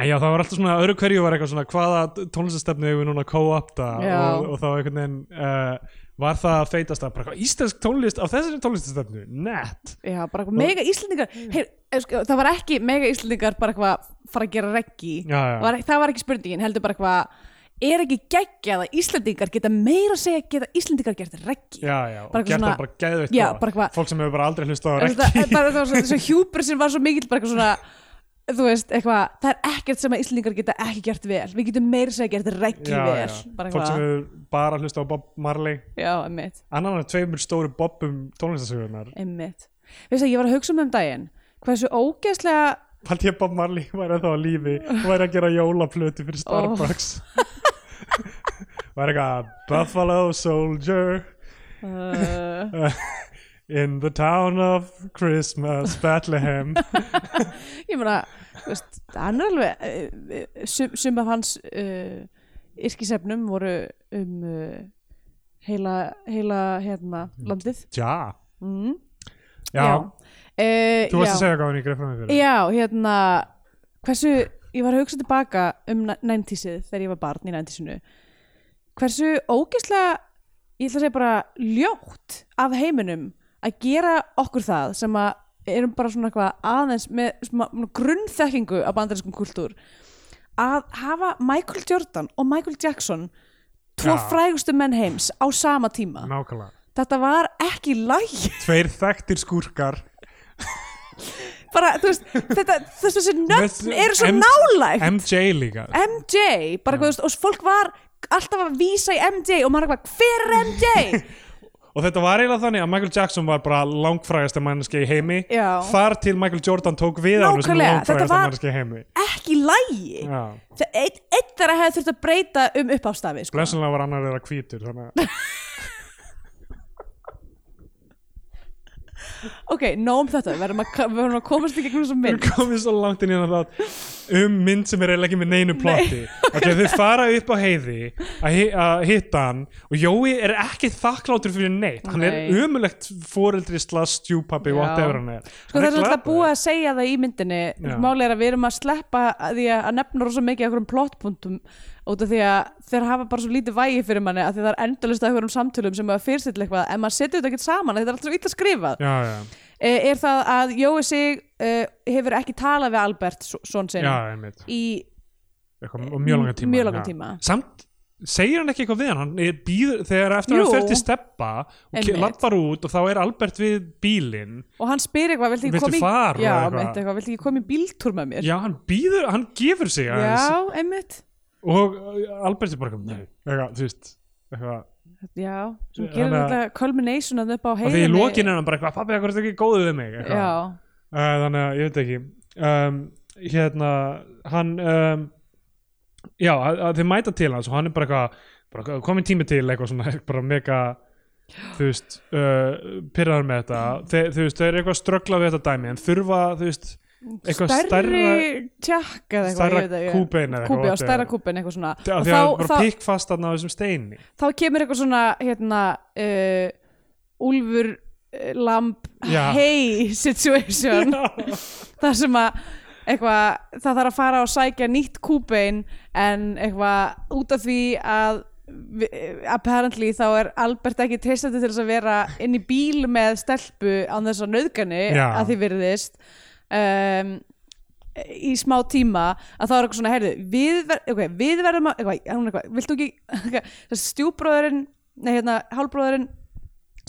En já, það var alltaf svona, öðru hverju var eitthvað svona hvaða tónlistastefnu hefur núna co-opta
Já.
og, og þá einhvern veginn uh, var það að feitast að bara eitthvað íslensk tónlist af þessari tónlistastefnu, nett
já, bara eitthvað, mega Íslendingar heyr, eh, sko, það var ekki mega Íslendingar bara eitthvað fara að gera reggi
Já, já.
Var, það var ekki spurningin, heldur bara eitthvað er ekki geggjað að Íslendingar geta meira að segja geta Íslendingar gert reggi
Já, já,
Bara eitthvað
og gert
svona-
það bara geðveikt
Já,
góða.
bara eitthvað-
Fólk sem hefur bara aldrei hlustað á
En það,
rekki
en bara, það var svo, svo hjúpur sem var svo mikill bara eitthvað svona þú veist, eitthvað, það er ekkert sem að Íslendingar geta ekki gert vel, við getum meira sem að gert reggi
já,
vel,
já.
bara
fólk sem
eitthvað
hefur bara hlusta á Bob Marley
já, emmitt,
annan af tveimur stóru Bobum tónlistasögunar
emmitt veist það, ég var að hugsa um um daginn hversu ógeðslega
Paldi ég að Bob Marley væri þá á lífi og væri að gera jólaflötu fyrir Starbucks
Oh.
væri eitthvað Buffalo Soldier
uh,
in the town of Christmas Bethlehem
ég meina, þú veist, hann er alveg eh, eh, sum, sum af hans uh, yrkisefnum voru um uh, heila, heila hérna, landið
Já,
mm.
Mhm. já,
Eh,
þú varst
já.
að segja hvað hann í greifnum fyrir
Já, hérna hversu, ég var að hugsa tilbaka um 90-sið þegar ég var barn í 90-sinu hversu ógeðslega ég ætla að segja bara ljótt af heiminum að gera okkur það sem að erum bara svona eitthvað aðeins með svona svona grunnþekkingu af bandarískum kultúr að hafa Michael Jordan og Michael Jackson tvo
Já.
frægustu menn heims á sama tíma
Nákvæmlega,
þetta var ekki læg
tveir þekktir skúrkar
bara, þú veist, þetta, þess þessi nöfn
Með-
eru svo
M-
nálægt
MJ líka
MJ, bara hvað þú veist, og fólk var alltaf að vísa í MJ og maður var eitthvað, hver er MJ?
Og þetta var eiginlega þannig að Michael Jackson var bara langfrægasta manneski í heimi
Já.
Þar til Michael Jordan tók við hann sem
Nákvæmlega, þetta
langfrægasta
var-
manneski í heimi
Ekki lægi.
Já,
Eitt, eitt þeirra hefði þurft að breyta um uppástafi, sko.
blessunlega var annar þeirra hvítur Þannig að
Ok, nóg um þetta, við verðum að, við verðum að komast í gegnum þessum
við
mynd. Sko,
komum svo langt inn í hann þátt um mynd sem er eiginlega ekki með neinu plotti Ok, þau fara upp á heiði að hi- að hitta hann og Jói er ekki þakklátur fyrir neitt Hann
Nei.
er umulegt foreldri slags stjúpappi,
Já.
whatever hann er
Sko
Hann
það
er
er alltaf
glataður.
búið að segja það í myndinni
Já.
Máli er að við erum að sleppa að því að að nefna rosa mikið af einhverjum plottpuntum út af því að þeir hafa bara svo lítið vægi fyrir manni að því það er endalist að einhverjum samtölum sem að fyrirstilla eitthvað en maður setur þetta ekki saman þetta er alltaf svo illa skrifað
Já, já,
Eh, er það að Jói sig uh, hefur ekki talað við Albert so- son sinn
já, einmitt
í
eitthvað, og mjög langan tíma,
Mjög langan
já.
tíma.
samt segir hann ekki eitthvað við hann, hann er býður, þegar eftir að
Jú.
hann fer til steppa og
Einmitt.
lappar út og þá er Albert við bílinn
og hann spyr eitthvað, viltu ekki
Viltu
koma í
fara og
já,
eitthvað?
einmitt, eitthvað, viltu ekki koma í bíltúr með mér
já hann býður, hann gefur sig aðeins
já einmitt
og uh, Albert er bara eitthvað, "Nei," eitthvað, þú veist eitthvað,
já, sem
Þannig
gerir
að-
þetta culmination að upp á
og því í
heiðinni
lokin er hann bara eitthvað, pappi, hvað er þetta ekki góðu við mig eitthvað.
já,
uh, þannig að ég veit ekki um, hérna hann um, já, að, að þeir mæta til hans og hann er bara eitthvað bara eitthvað, komin tími til eitthvað svona bara mega þú veist, uh, pyrraðar með þetta Þe, þú veist, þau eru eitthvað að ströggla við þetta dæmi en þurfa, þú veist, eitthvað
stærri
stærra
tjakk eða eitthvað,
stærra
ég veit ekki.
kúbein eða
kúbi,
eitthvað,
já,
whatever.
stærra kúbin eitthvað svona og
af því að það er
þá,
bara
þá,
pikk fast þarna á þessum steini
þá kemur eitthvað svona hérna uh, Úlfur uh, Lamb
Já.
hey situation þar sem að eitthvað, það þarf að fara og sækja nýtt kúbein en eitthvað út af því að vi- apparently þá er Albert ekki treystandi til þess að vera inn í bíl með stelpu án þess að nöðgani
Já.
að því virðist um, í smá tíma að þá er eitthvað svona, heyrðu, við, ver, okay, við verðum að, eitthvað, hún er eitthvað, viltu ekki eitthvað, þessi stjúbróðurinn, nei hérna hálbróðurinn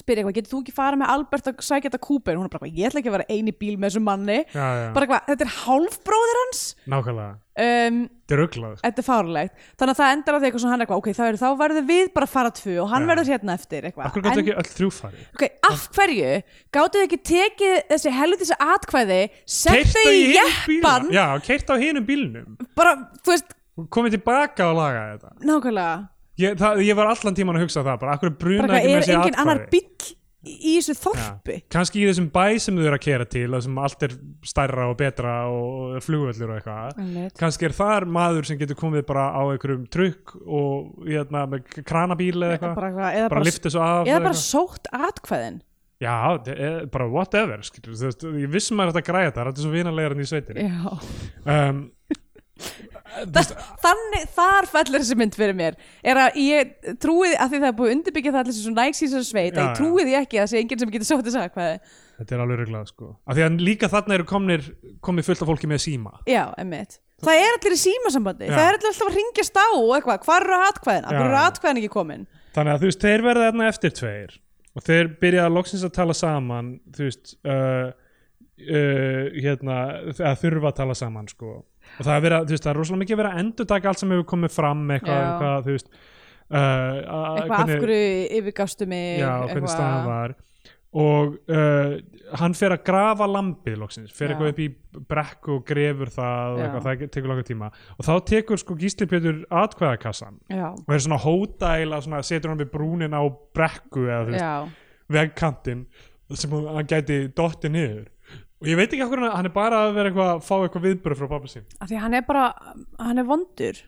spyr eitthvað, getur þú ekki fara með Albert að sækja þetta kúpen, hún er bara, eitthvað, ég ætla ekki að vera eini bíl með þessum manni
já, já.
bara eitthvað, þetta er hálfbróður hans
nákvæmlega,
um,
þetta er auglað
þetta er fárlegt þannig að það endar á því eitthvað svona hann er eitthvað ok, þá, er, þá verður við bara að fara tvö og hann
Já.
verður hérna eftir eitthvað
Akkur gæti
En-
ekki öll þrjú farið
Ok, af hverju gáttu þið ekki tekið þessi helvitis atkvæði sett þau
Keyrt á
í
hinum
jeppan
bílnum. Já, keirt á hinum bílnum
bara, þú veist,
og komið tilbaka og laga þetta
nákvæmlega
ég, það, ég var allan tíman að hugsa það bara, akkur bruna
bara
ekki
hvað
með
er
þessi
engin annar
atkvæði
bíll í í þessu þorpi
kannski í þessum bæ sem þau eru að kera til þar sem allt er stærra og betra og flugvöllur og eitthvað
Einmitt.
kannski er þar maður sem getur komið bara á einhverjum trukk og hérna, með k- kranabíl
Bara
eða eitthvað bara,
eitthvað, eða bara,
lyfti svo af
eða bara
eitthvað.
sótt atkvæðin
já, þe- eh, bara whatever skilur, þú veist, ég vissum maður þetta græða þetta þetta er svo vinalegar enn í sveitinni
Já.
um,
þannig, þar fellur þessi mynd fyrir mér er að ég trúið að því það er búið að undirbyggja það allir sem svona nægst í þessu sveit að
Já,
ég
já.
trúið ég ekki að það sé enginn sem getur sótt þessu atkvæði
þetta er alveg reglað sko. af því að líka þarna eru komnir komið fullt af fólki með síma
Já, emmitt Það er allir í símasambandi,
Já.
það er allir alltaf að ringjast á og eitthvað, hvar eru atkvæðin, af
Já,
hverju eru
já.
atkvæðin ekki komin
Þannig að þú veist, þeir verða þarna eftir tveir og þeir byrja að loksins að tala saman þú veist uh, uh, hérna, að þurfa að tala saman sko. og það er, vera, þú veist, það er rosalega mikið að vera að endurtaka allt sem hefur komið fram eitthvað,
Já.
eitthvað þú veist uh, að-
eitthvað af hverju yfirgastu mig
já, hvernig staðan var og uh, hann fer að grafa lambið loksins,
Já.
fer eitthvað upp í brekku og grefur það, og
Já.
eitthvað, það tekur langa tíma og þá tekur sko Gísli Pétur atkvæðakassan
já,
og er svona hótæla svona, setur hann við brúnin á brekku eða þú veist,
já,
vegkantinn sem hún- hann gæti dotti niður og ég veit ekki af hverju hann- hann er bara að vera eitthvað að fá eitthvað viðbröð frá pappa sín
af því hann er bara hann er vondur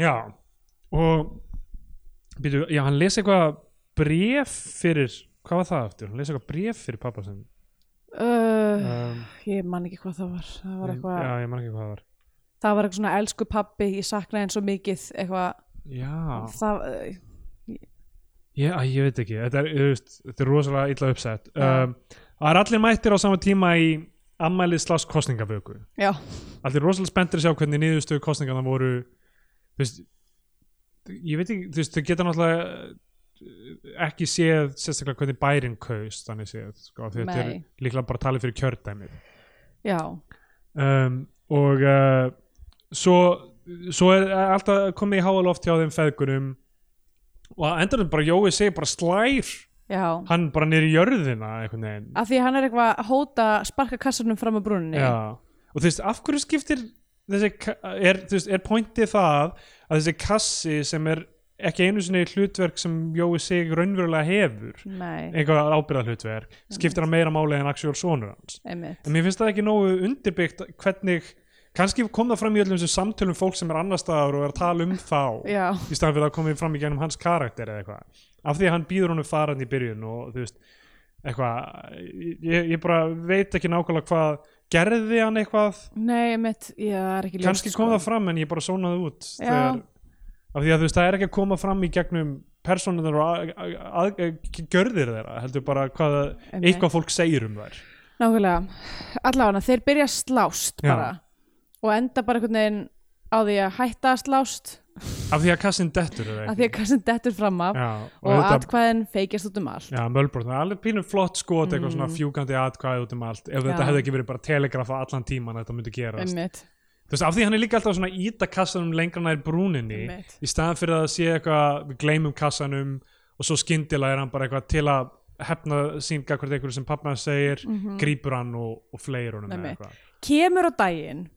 já og býtu, já, hann lesi eitthvað bref fyrir hvað var það aftur, hann lesi eitthvað bref fyrir pappa sín
uh,
um,
ég man ekki hvað það var það var eitthvað,
já, ég man ekki hvað það var
það var eitthvað svona elsku pappi, ég saknaði henn svo mikið eitthvað,
já,
það uh,
ég, æ, ég veit ekki þetta er, þú veist, þetta er rosalega illa uppsett
Já.
um, það er allir mættir á sama tíma í ammælið slags kostningavöku
já,
allir rosalega spenntir að sjá hvernig niðurstöðu kostningarna voru þú veist ég veit ekki, þú veist, þau geta náttúrulega eh, ekki séð sérstaklega hvernig bærin kaust, þannig séð sko, af því að þetta er
Nei.
líklega bara talið fyrir kjördæmið
já
um, og uh, svo, svo er alltaf komið í háaloft hjá þeim feðgunum og að endanum bara Jói segir bara slær
já,
hann bara niður í jörðina einhvern veginn
af því hann er eitthvað að hóta sparka kassanum fram að brúninni
Já. og þú veist, af hverju skiptir þessi, ka- er, þú veist, er pointið það að þessi kassi sem er ekki einu sinni hlutverk sem Jói sig raunverulega hefur
nei,
eitthvað ábyrða hlutverk, skiptir hann meira máli en actual sonur hans
einmitt
en mér finnst það ekki nógu undirbyggt hvernig, kannski kom það fram í öllum þessum samtölum fólk sem er annar staðar og er að tala um þá
já,
í staðan fyrir að komið fram í gegnum hans karakter eða eitthvað, af því að hann býður honum faran í byrjun og þú veist eitthvað, ég, ég bara veit ekki nákvæmlega hvað, gerði hann eitthvað
nei, einmitt já, það er ekki ljóst,
kannski kom það fram en ég bara sónaði út
sko. Já.
þegar, af því að þú veist, það er ekki að koma fram í gegnum persónunar og að, að, að, að, görðir þeirra, heldur bara hvað
Einmitt.
eitthvað fólk segir um þær
Nákvæmlega, allavega þeir byrja að slást
Já.
bara og enda bara einhvern veginn á því að hætta að slást
af því að kassin dettur eða
af
ekki
því að kassin dettur fram af
Já, og,
og
þetta,
atkvæðin feikjast út um allt
Já, mölbrot, það er alveg pínum flott skot eitthvað svona fjúkandi atkvæði út um allt ef þetta
Mm. Já.
hefði ekki verið bara telegrafa allan tíman þetta myndi gerast
einmitt,
þú veist, af því hann er líka alltaf svona að íta kassanum lengra nær brúninni
Einmitt.
í staðan fyrir að það sé eitthvað, við gleymum kassanum og svo skyndilega er hann bara eitthvað til að hefna sín gagvart einhverju sem pappna segir, grípur hann og, og fleir honum eða
Mhm. Einmitt.
eitthvað
kemur á daginn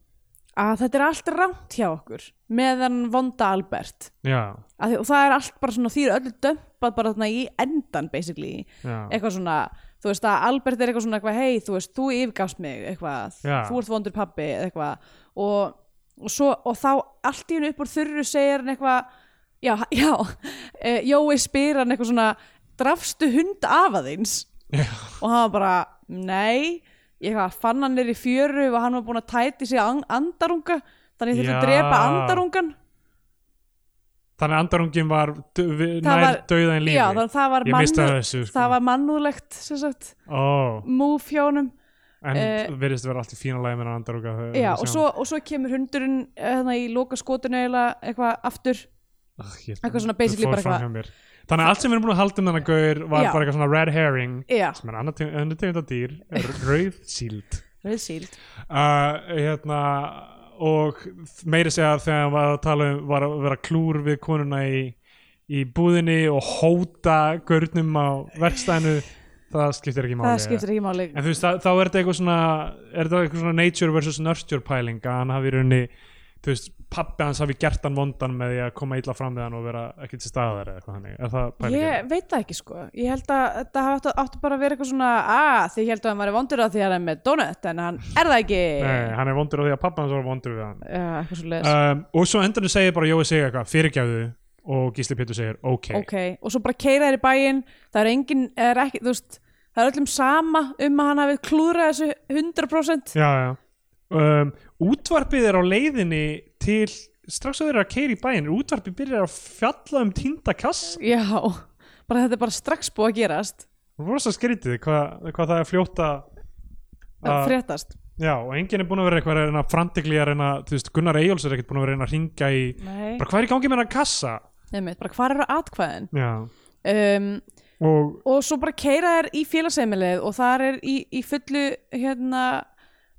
að þetta er allt rámt hjá okkur meðan vonda Albert
já,
Af því, og það er allt bara svona því er öllu dömpað bara þarna í endan basically
já,
eitthvað svona, þú veist að Albert er eitthvað svona eitthvað, hei, þú veist, þú yfirgafst mig eitthvað,
Já.
þú ert vondur pabbi eða eitthvað og, og, svo, og þá allt í hennu upp úr þurru segir hann eitthvað já, já e, Jói spyr hann eitthvað svona drafstu hund af aðeins
já,
og hann var bara, nei ég eitthvað, fann hann er í fjöru og hann var búin að tæti sig an andarunga þannig þetta
Já.
að drepa andarungan
þannig að andarungin var dö- við-
Það
nær
var-
dauða en lífi
já, þannig að það var,
Ég misti af
mannú,
þessu, sko.
það var mannúlegt sem sagt,
ó,
múf hjá honum
en
Eh,
uh, verðist að vera allt í fína lagi með andarunga þegar
Já,
við
og
sjáum-
svo, og svo kemur hundurinn eh, hérna í loka skotinu eiginlega eitthvað aftur
Ugh, ég-
eitthvað svona
þetta
basically
fór
bara
fram
eitthvað-
hjá mér. þannig að allt sem við erum búin að halda um þennan gaur var
Já.
bara eitthvað svona red herring
Já,
sem er annar tegund af dýr, r- rauð síld
rauðsíld
uh, hérna og meiri segja þegar hann var að tala um var að vera klúr við konuna í, í búðinni og hóta gaurnum á verkstæðinu það skiptir ekki máli
það skiptir ekki máli
en þú veist, þá, þá er þetta eitthvað svona er þetta eitthvað svona nature versus nurture pæling að hann hafi í rauninni þú veist, pappi hans hafi gert hann vondan með því að koma illa fram við hann og vera ekkert til staðar eða eitthvað þannig, er það pælingin?
ég veit það ekki sko ég held að þetta hafi áttu, áttu bara að vera eitthvað svona að því ég held að hann var vondur að því að hann er með donut en hann er það ekki
Nei, hann er vondur á því að pappi hans var vondur við hann
Já, eitthvað svo
um, og svo endanum segir bara Jói segir eitthvað fyrirgjáðu og Gísli Pétur segir ok,
ok, og svo bara keira þér í bæinn það er engin, er ekki, þú veist það er öllum sama um að hann hafi klúðrað þessu 100%
já, já. Um, útvarpið er á leiðinni til strax að þeir eru að keira í bæinn er útvarpið byrjar að fjalla um týnda kass
já, bara þetta er bara strax búið að gerast
rosa skrítið hvað, hvað það er fljóta
að fréttast
já, og enginn er búin að vera eitthvað að reyna frantikli að reyna, þú veist, Gunnar Eyjóls er ekkert búin að vera að reyna að ringa í
Nei.
bara hvað er í gangi með hennar kassa
Einmitt, bara hvar eru atkvæðin
já.
um,
og
og svo bara keira þér í félagseimilið og þar er í, í fullu hérna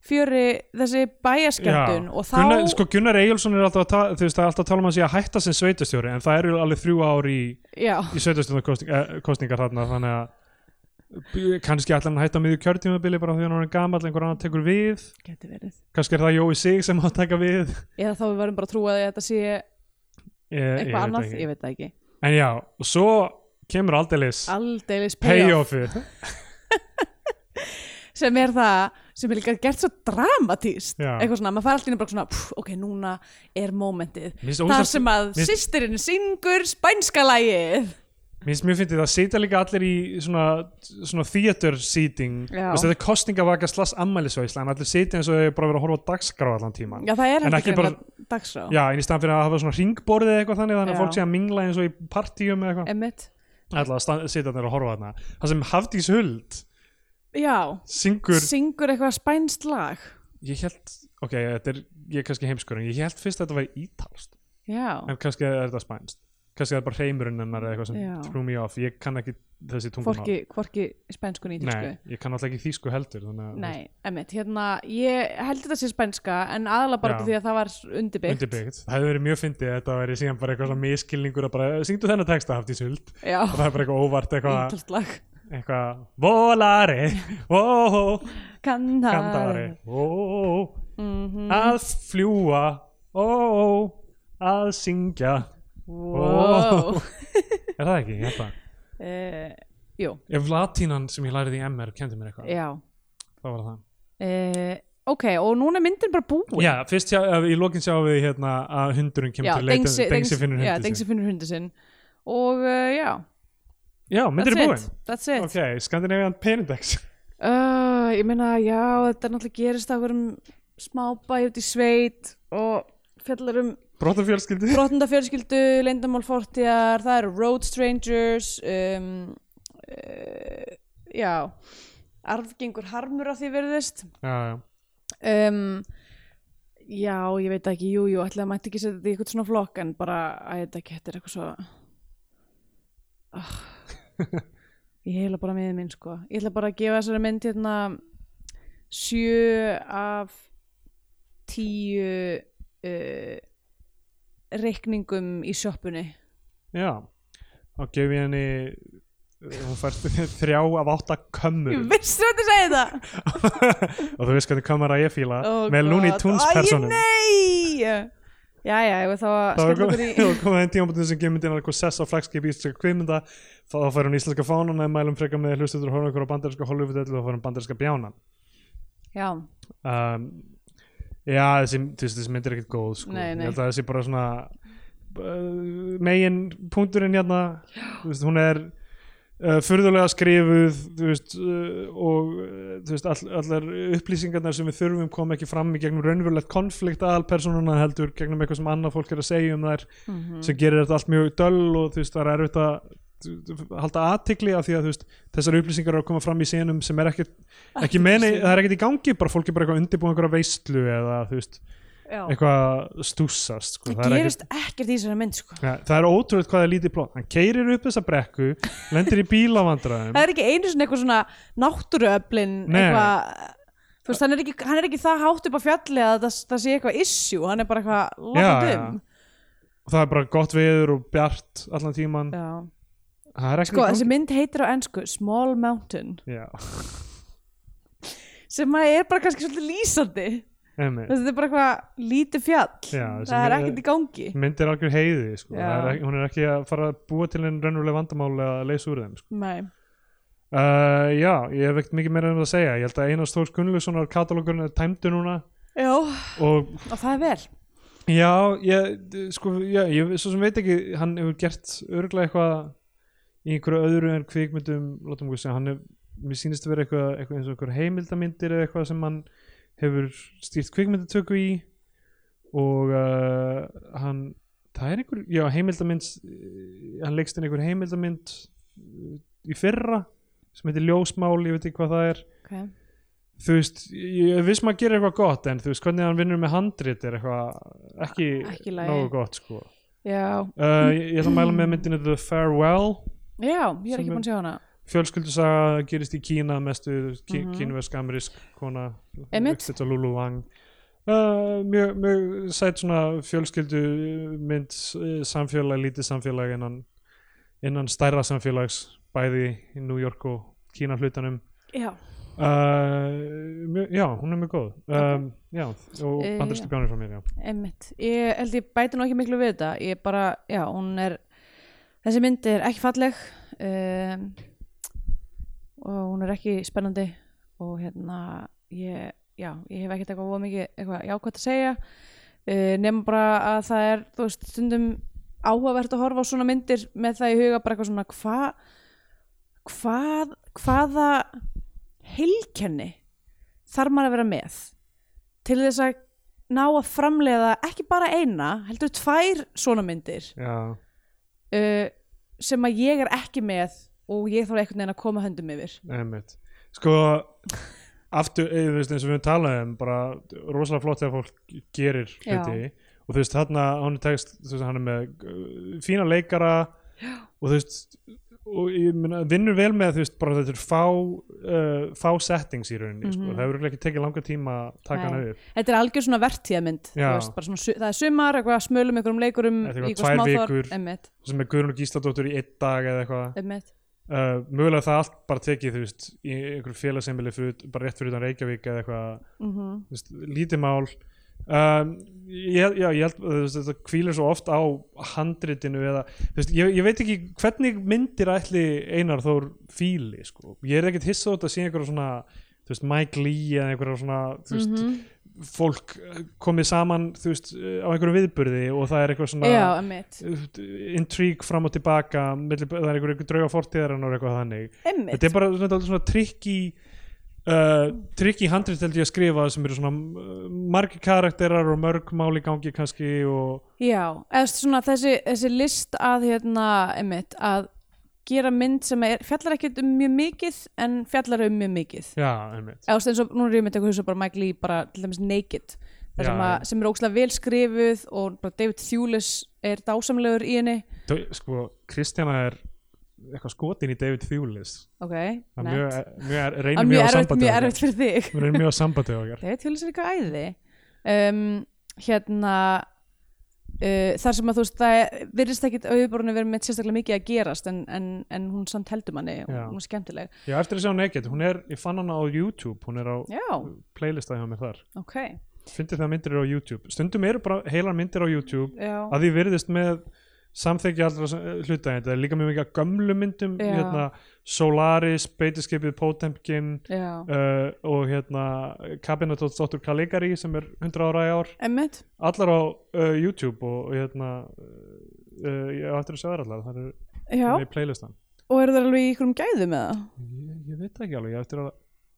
fjöri þessi bæjaskjöndun og þá
Gunnar, sko Gunnar Eyjálsson er alltaf að, ta- þú veist, það er alltaf að tala um að sé að hætta sem sveitastjóri en það eru alveg þrjú ár í,
já,
í sveitastjórnarkostningar þarna þannig að b- kannski ætla hann að hætta miður kjörtímabili bara því að hann er gamall einhver annar tekur við
geti verið
kannski er það Jói Sig sem á að taka við
eða þá við varum bara að trúa því að þetta sé
ég, ég
eitthvað
veit
annað,
ekki.
ég veit það ekki
en já, og svo kemur aldeilis
aldeilis payoff
payoffið
sem er það sem er líka gert svo dramatíst
Já.
eitthvað svona, maður fær alltaf bara svona pff, ok, núna er mómentið
Mér finnst
þar
ósagt-
sem að
mér-
systirinn syngur spænska lagið
Mér finnst mjög fyndið að sitja líka allir í svona, svona theater seating
Já.
Vist, þetta er kostningavaka slass ammælisveisla en allir sitja eins og þau bara verið að horfa á dagskrá allan tíman
já, það er
En
hægt
ekki
að
bara-
greina dagsrá
Já, en í stand fyrir að hafa svona ringborðið eða eitthvað þannig þannig að
Já.
fólk sé að mingla eins og í partíum eða eitthvað
emitt
Ætla að stand- sitja þarna og horfa þarna Það sem Hafdís Huld
já,
syngur
syngur eitthvað spænst lag
Ég held, ok, þetta er, ég er kannski heimskur en ég held fyrst að þetta væri ítalst
já,
en kannski er þetta spænst kannski er það bara heimurinn en eða eitthvað sem
Já.
trú me off ég kann ekki þessi tungumál
hvorki, hvorki spænskun í tísku
Nei, ég kann alltaf ekki þýsku heldur þannig að-
Nei, emitt, hérna, ég held þetta sé spænska en aðalega bara
Já.
út af því að það var undirbyggt
undirbyggt það hefði verið mjög fyndið að þetta væri síðan bara eitthvað svona miskilningur að bara "Eh, syngdu þennan texta haft í sult
Já,
og það er bara eitthvað óvart eitthvað,
ítalst lag
eitthvað volari, óhó kandari,
Kandari
óhó
Mhm.
að fljúa óhó, að syngja
Wow
er það ekki, ég held það
uh, Jú,
ef latínan sem ég lærið í MR kendi mér eitthvað,
já
þá var það
uh, Ok, og núna er myndin bara búin
já, fyrst sjá, ef- í lokin sjáum við hérna að hundurinn kemur til leita, dengsi finnur
já,
hundið
Dengsi
sinn
finnur hundi sinn Og uh, já,
já, myndir
that's it
er búin
That's it
ok, Skandinavian Penindex
uh, Ég meina, já, þetta er náttúrulega gerist á hverjum smábæ út í sveit og fjallar um
Brottafjölskyldi
brotnda fjölskyldu, leyndamál fortíðar það eru road strangers um, uh, já arfgengur harmur að því verðist
já, já.
um, já, ég veit ekki jú, jú, ætlaði að mætti ekki setja þetta í eitthvað svona flokk en bara, að þetta ekki, þetta er eitthvað svo oh. ég heila bara miðið minn sko, ég ætla bara að gefa þessari mynd hérna sjö af tíu uh, reikningum í sjoppunni
já og gef ég henni eh, hún fær þrjá af átta kömmur
ég veist hvað þetta segið það
og þú veist hvernig kömmur að ég fíla
Ó, Oh
með
God.
Looney Tunes
Æ,
personum
nei Jæja, ég veit þá að
það var
skella
komið
okkur í
þenn tímabundin sem gefur myndin eitthvað sess á flagskip íslenska kvikmynda þá fær hún íslenska fánan en mælum frekar með hlustuður og horfum okkur á bandarinska Hollywood-dellu og fær hún bandarinska bjánan
Já,
um, já, þessi, þú veist, þessi mynd er ekkert góð sko.
Nei, nei.
ég held að þessi bara svona uh, megin punkturinn hérna þú veist, hún er uh, furðulega skrifuð þú veist, uh, og uh, þú veist, all, allar upplýsingarnar sem við þurfum kom ekki fram í gegnum raunverulegt konflikt aðalpersonuna heldur gegnum eitthvað sem annað fólk er að segja um þær
Mhm.
sem gerir þetta allt mjög döll og þú veist, það er erfitt að þú- þú- halda aðtikli af því að þú veist, þessar upplýsingar eru að koma fram í senum sem er ekkert ekki meni, það er ekkert í gangi bara fólk er bara eitthvað undirbúið einhverja veistlu eða þú veist,
já
eitthvað stúsast sko.
Það
er ekkert-
gerist ekkert í þessari mynd sko
Ja, það er ótrúlega hvað það er lítið plott hann keirir upp þessa brekku, lendir í bílavandræðum
Það er ekki einu svona eitthvað svona náttúruöflin
Nei.
eitthvað þú veist, hann er, ekki, hann er ekki það hátt upp á fjalli að það, það sé eitthvað issue hann er bara eitthvað langt
já.
um
og það er bara gott veður og bjart allan tíman
já.
það er ekki
sko þessi mynd heitir á ennsku Small Mountain
já,
sem að er bara kannski svolítið lýsandi
einmitt.
þetta er bara eitthvað lítið fjall
Já, sem
það er
er-
ekkert í gangi
mynd er algjör heiði sko.
Já.
Það er ekki, hún er ekki að fara að búa til einn raunveruleg vandamál að leysa úr þeim sko.
Nei.
uh, já, ég hef ekkert mikið meira um það að segja ég held að Einars Þórs Gunnlaugssonar katalógurinn er tæmdu núna
já, og
og
það er vel
já, ég, d- sko, já, ég svo sem veit ekki, hann hefur gert örglega eitthvað í einhverju öðru en kvikmyndum, látum okkur segja hann hef, mér sýnist að vera eitthvað, eitthvað eins og einhver heimildamindir eða eitthvað sem hann hefur stýrt kvikmyndatöku í og uh, hann það er einhver, já heimildamind hann leikst inn einhver heimildamind eh, í fyrra sem heitir Ljósmál, ég veit ekki hvað það er
okay.
þú veist, ég viss maður gerir eitthvað gott en þú veist, hvernig hann vinnur með handrit er eitthvað ekki,
Ekki í lagi.
nógu gott sko. uh,
já.
ég, ég ætla að mæla með myndinu The Farewell
já, ég
Sem
er ekki
er-
búin að sjá hana
fjölskyldusaga gerist í Kína mestu þú veist, ki
Mhm.
kínversk amrisk kona
Einmitt.
uppsett á Lulu Wang uh, mjög, mjög sætt svona fjölskyldu mynd eh, samfélag, lítið samfélag innan, innan stærra samfélags bæði í New York og Kína hlutanum
já.
Uh, mjö- já, hún er mjög góð um, Já, og
Eh,
bandarísku
já.
bjánir frá mér, já
Einmitt. Ég held ég bæti nú ekki miklu við þetta. Ég bara, já, hún er, þessi mynd er ekki falleg um, og hún er ekki spennandi og hérna, ég, já, ég hef ekkert eitthvað voða mikið eitthvað jákvæmt að segja uh, nema bara að það er, þú veist, stundum áhugavert að horfa á svona myndir með það í huga bara eitthvað svona hvað, hvað, hvaða heilkenni þarf maður að vera með til þess að ná að framleiða ekki bara eina, heldur tvær svona myndir
Já,
uh, sem að ég er ekki með og ég þarf einhvern veginn að koma höndum yfir
einmitt Sko, aftur, eh, þú veist, eins og við höfum talað um bara rosalega flott þegar fólk gerir
Já.
hluti og þú veist, þarna hann er tekst, þú veist, hann er með eh, fína leikara já. og þú veist og ég meina, vinnur vel með þú veist, bara þetta er fá uh, fá settings í rauninni, sko,
Mhm.
það hefur örugglega ekki tekið langa tíma að taka
Nei.
hann upp
Þetta er algjör svona vertíðamynd þú
Já.
veist, bara svona, su- það er sumar, eitthvað smölum einhverjum leikurum
Þetta
í
er eitthvað tvær
smáþorp,
vikur.
einmitt,
sem er Guðrún og Gísladóttur í einn dag eða eitthvað
einmitt.
uh, mögulega það allt bara tekið þú veist, í einhverju félagseimili fyrir, bara rétt fyrir utan Reykjavík eða eitthvað
Mm
þú veist, lítið mál um, ég, já, ég held þú veist, þetta kvílir svo oft á handritinu eða, þú veist, ég, ég veit ekki hvernig myndir ætli Einar Þór fíli, sko, ég er ekkert hissa á þetta að sé einhverja svona, þú veist, Mike Lee eða einhverja svona, þú veist fólk eh, komið saman, þú veist eh, á einhverju viðburði og það er eitthvað svona
Já, einmitt,
intrík fram og tilbaka milli, það er einhver, einhver drauga fortíðarinn og eitthvað þannig
einmitt.
þetta er bara svona, dálítið svona trikki uh, trikki handrið held ég að skrifa sem eru svona uh, margi karakterar og mörg máli gangi kannski og
Já, eða svona þessi, þessi list að hérna, einmitt, að gera mynd sem er, fjallar ekkert um mjög mikið en fjallar um mjög mikið
já, einmitt
eða þú veist, eins og nú er ég myndi að hugsa bara Mike Lee bara til dæmis Naked þar sem,
Já, já.
að, sem er ókslega vel skrifuð og bara David Thewlis er dásamlegur í henni
Þau, sko, Kristjana er eitthvað skotin í David Thewlis
ok,
það
nætt
er mjög, mjög,
Það er
reynir
mjög
mjög á
erfitt,
sambandi
mjög erfitt fyrir þig
reynir mjög á sambandi okkar
David Thewlis er eitthvað æði um, hérna uh, þar sem að þú veist það er- virðist ekkit auðborunni verið með sérstaklega mikið að gerast en, en, en hún samt heldur manni og
Já.
hún er skemmtileg
já, eftir að sjá Naked, hún er, ég fann hana á YouTube hún er á
já,
playlista hjá mér þar
ok
fyndi það myndir eru á YouTube stundum eru bara heilar myndir á YouTube
já,
að því virðist með samþykja allra sem- hluta þetta er líka mjög mikið af gömlu myndum
Já.
hérna, Solaris, Beitiskipið Potemkin
já.
uh, og hérna Kabinatóttur Kaligari sem er 100 ára í ár
Emmett,
allar á uh, YouTube og, og hérna uh, ég á eftir að sjá þær allar það er
já,
í playlistan
og eru það alveg í ykkurum gæðum með það?
ég, ég veit það ekki alveg, ég á eftir að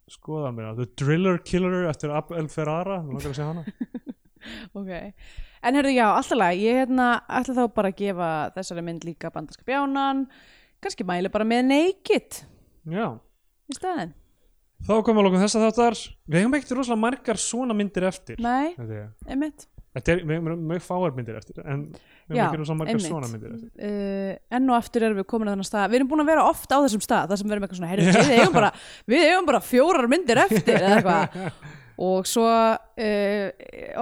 skoða mér það. The Driller Killer eftir Abel Ferrara, þú langar að segja hana
Ok, en herðu já, alltaf lag, ég hérna ætla þá bara að gefa þessari mynd líka bandarska bjánan, kannski mæli bara með naked
já
í staðin.
Þá komum við að lókum þessa þáttar Við hefum ekkert rosalega margar svona myndir eftir
Nei,
Þetta er-
einmitt.
Þetta er, við erum mjög fáar myndir eftir en við erum
Já,
ekki rosa margar
einmitt.
svona myndir eftir
Uh, enn og aftur erum við komin að þannig stað, við erum búin að vera oft á þessum stað, þar sem við erum eitthvað svona, herðu, við, eigum bara, við eigum bara fjórar myndir eftir eða eitthvað. og svo uh,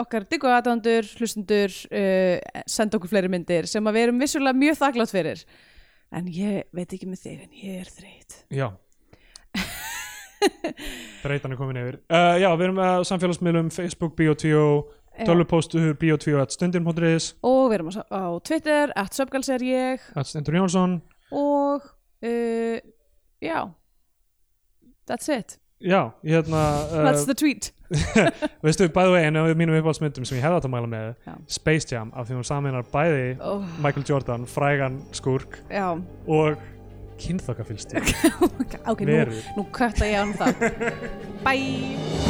okkar diggu aðdándur, hlustundur uh, senda okkur fleiri myndir sem að við erum vissulega mjög þakklátt fyrir en ég veit ekki með þig en ég er þreytt
Já Þreytan er komin yfir uh, Já, við erum með samfélagsmiðlum Facebook, Bio2 Tölvupóstur, Bio2 Stundin.is,
og við erum á, á Twitter, at subgals er ég
Stendur Jónsson
og uh, já that's it,
Já, hérna
that's
uh,
the tweet
Veistu, by the way, einu af mínum uppáhaldsmyndum sem ég hefði átt að mæla með
Já.
Space Jam, af því hún saminar bæði
oh,
Michael Jordan, frægan skúrk
já,
og kynþokkafylstík
ok, nú,
Veru.
nú kötta ég án það um bye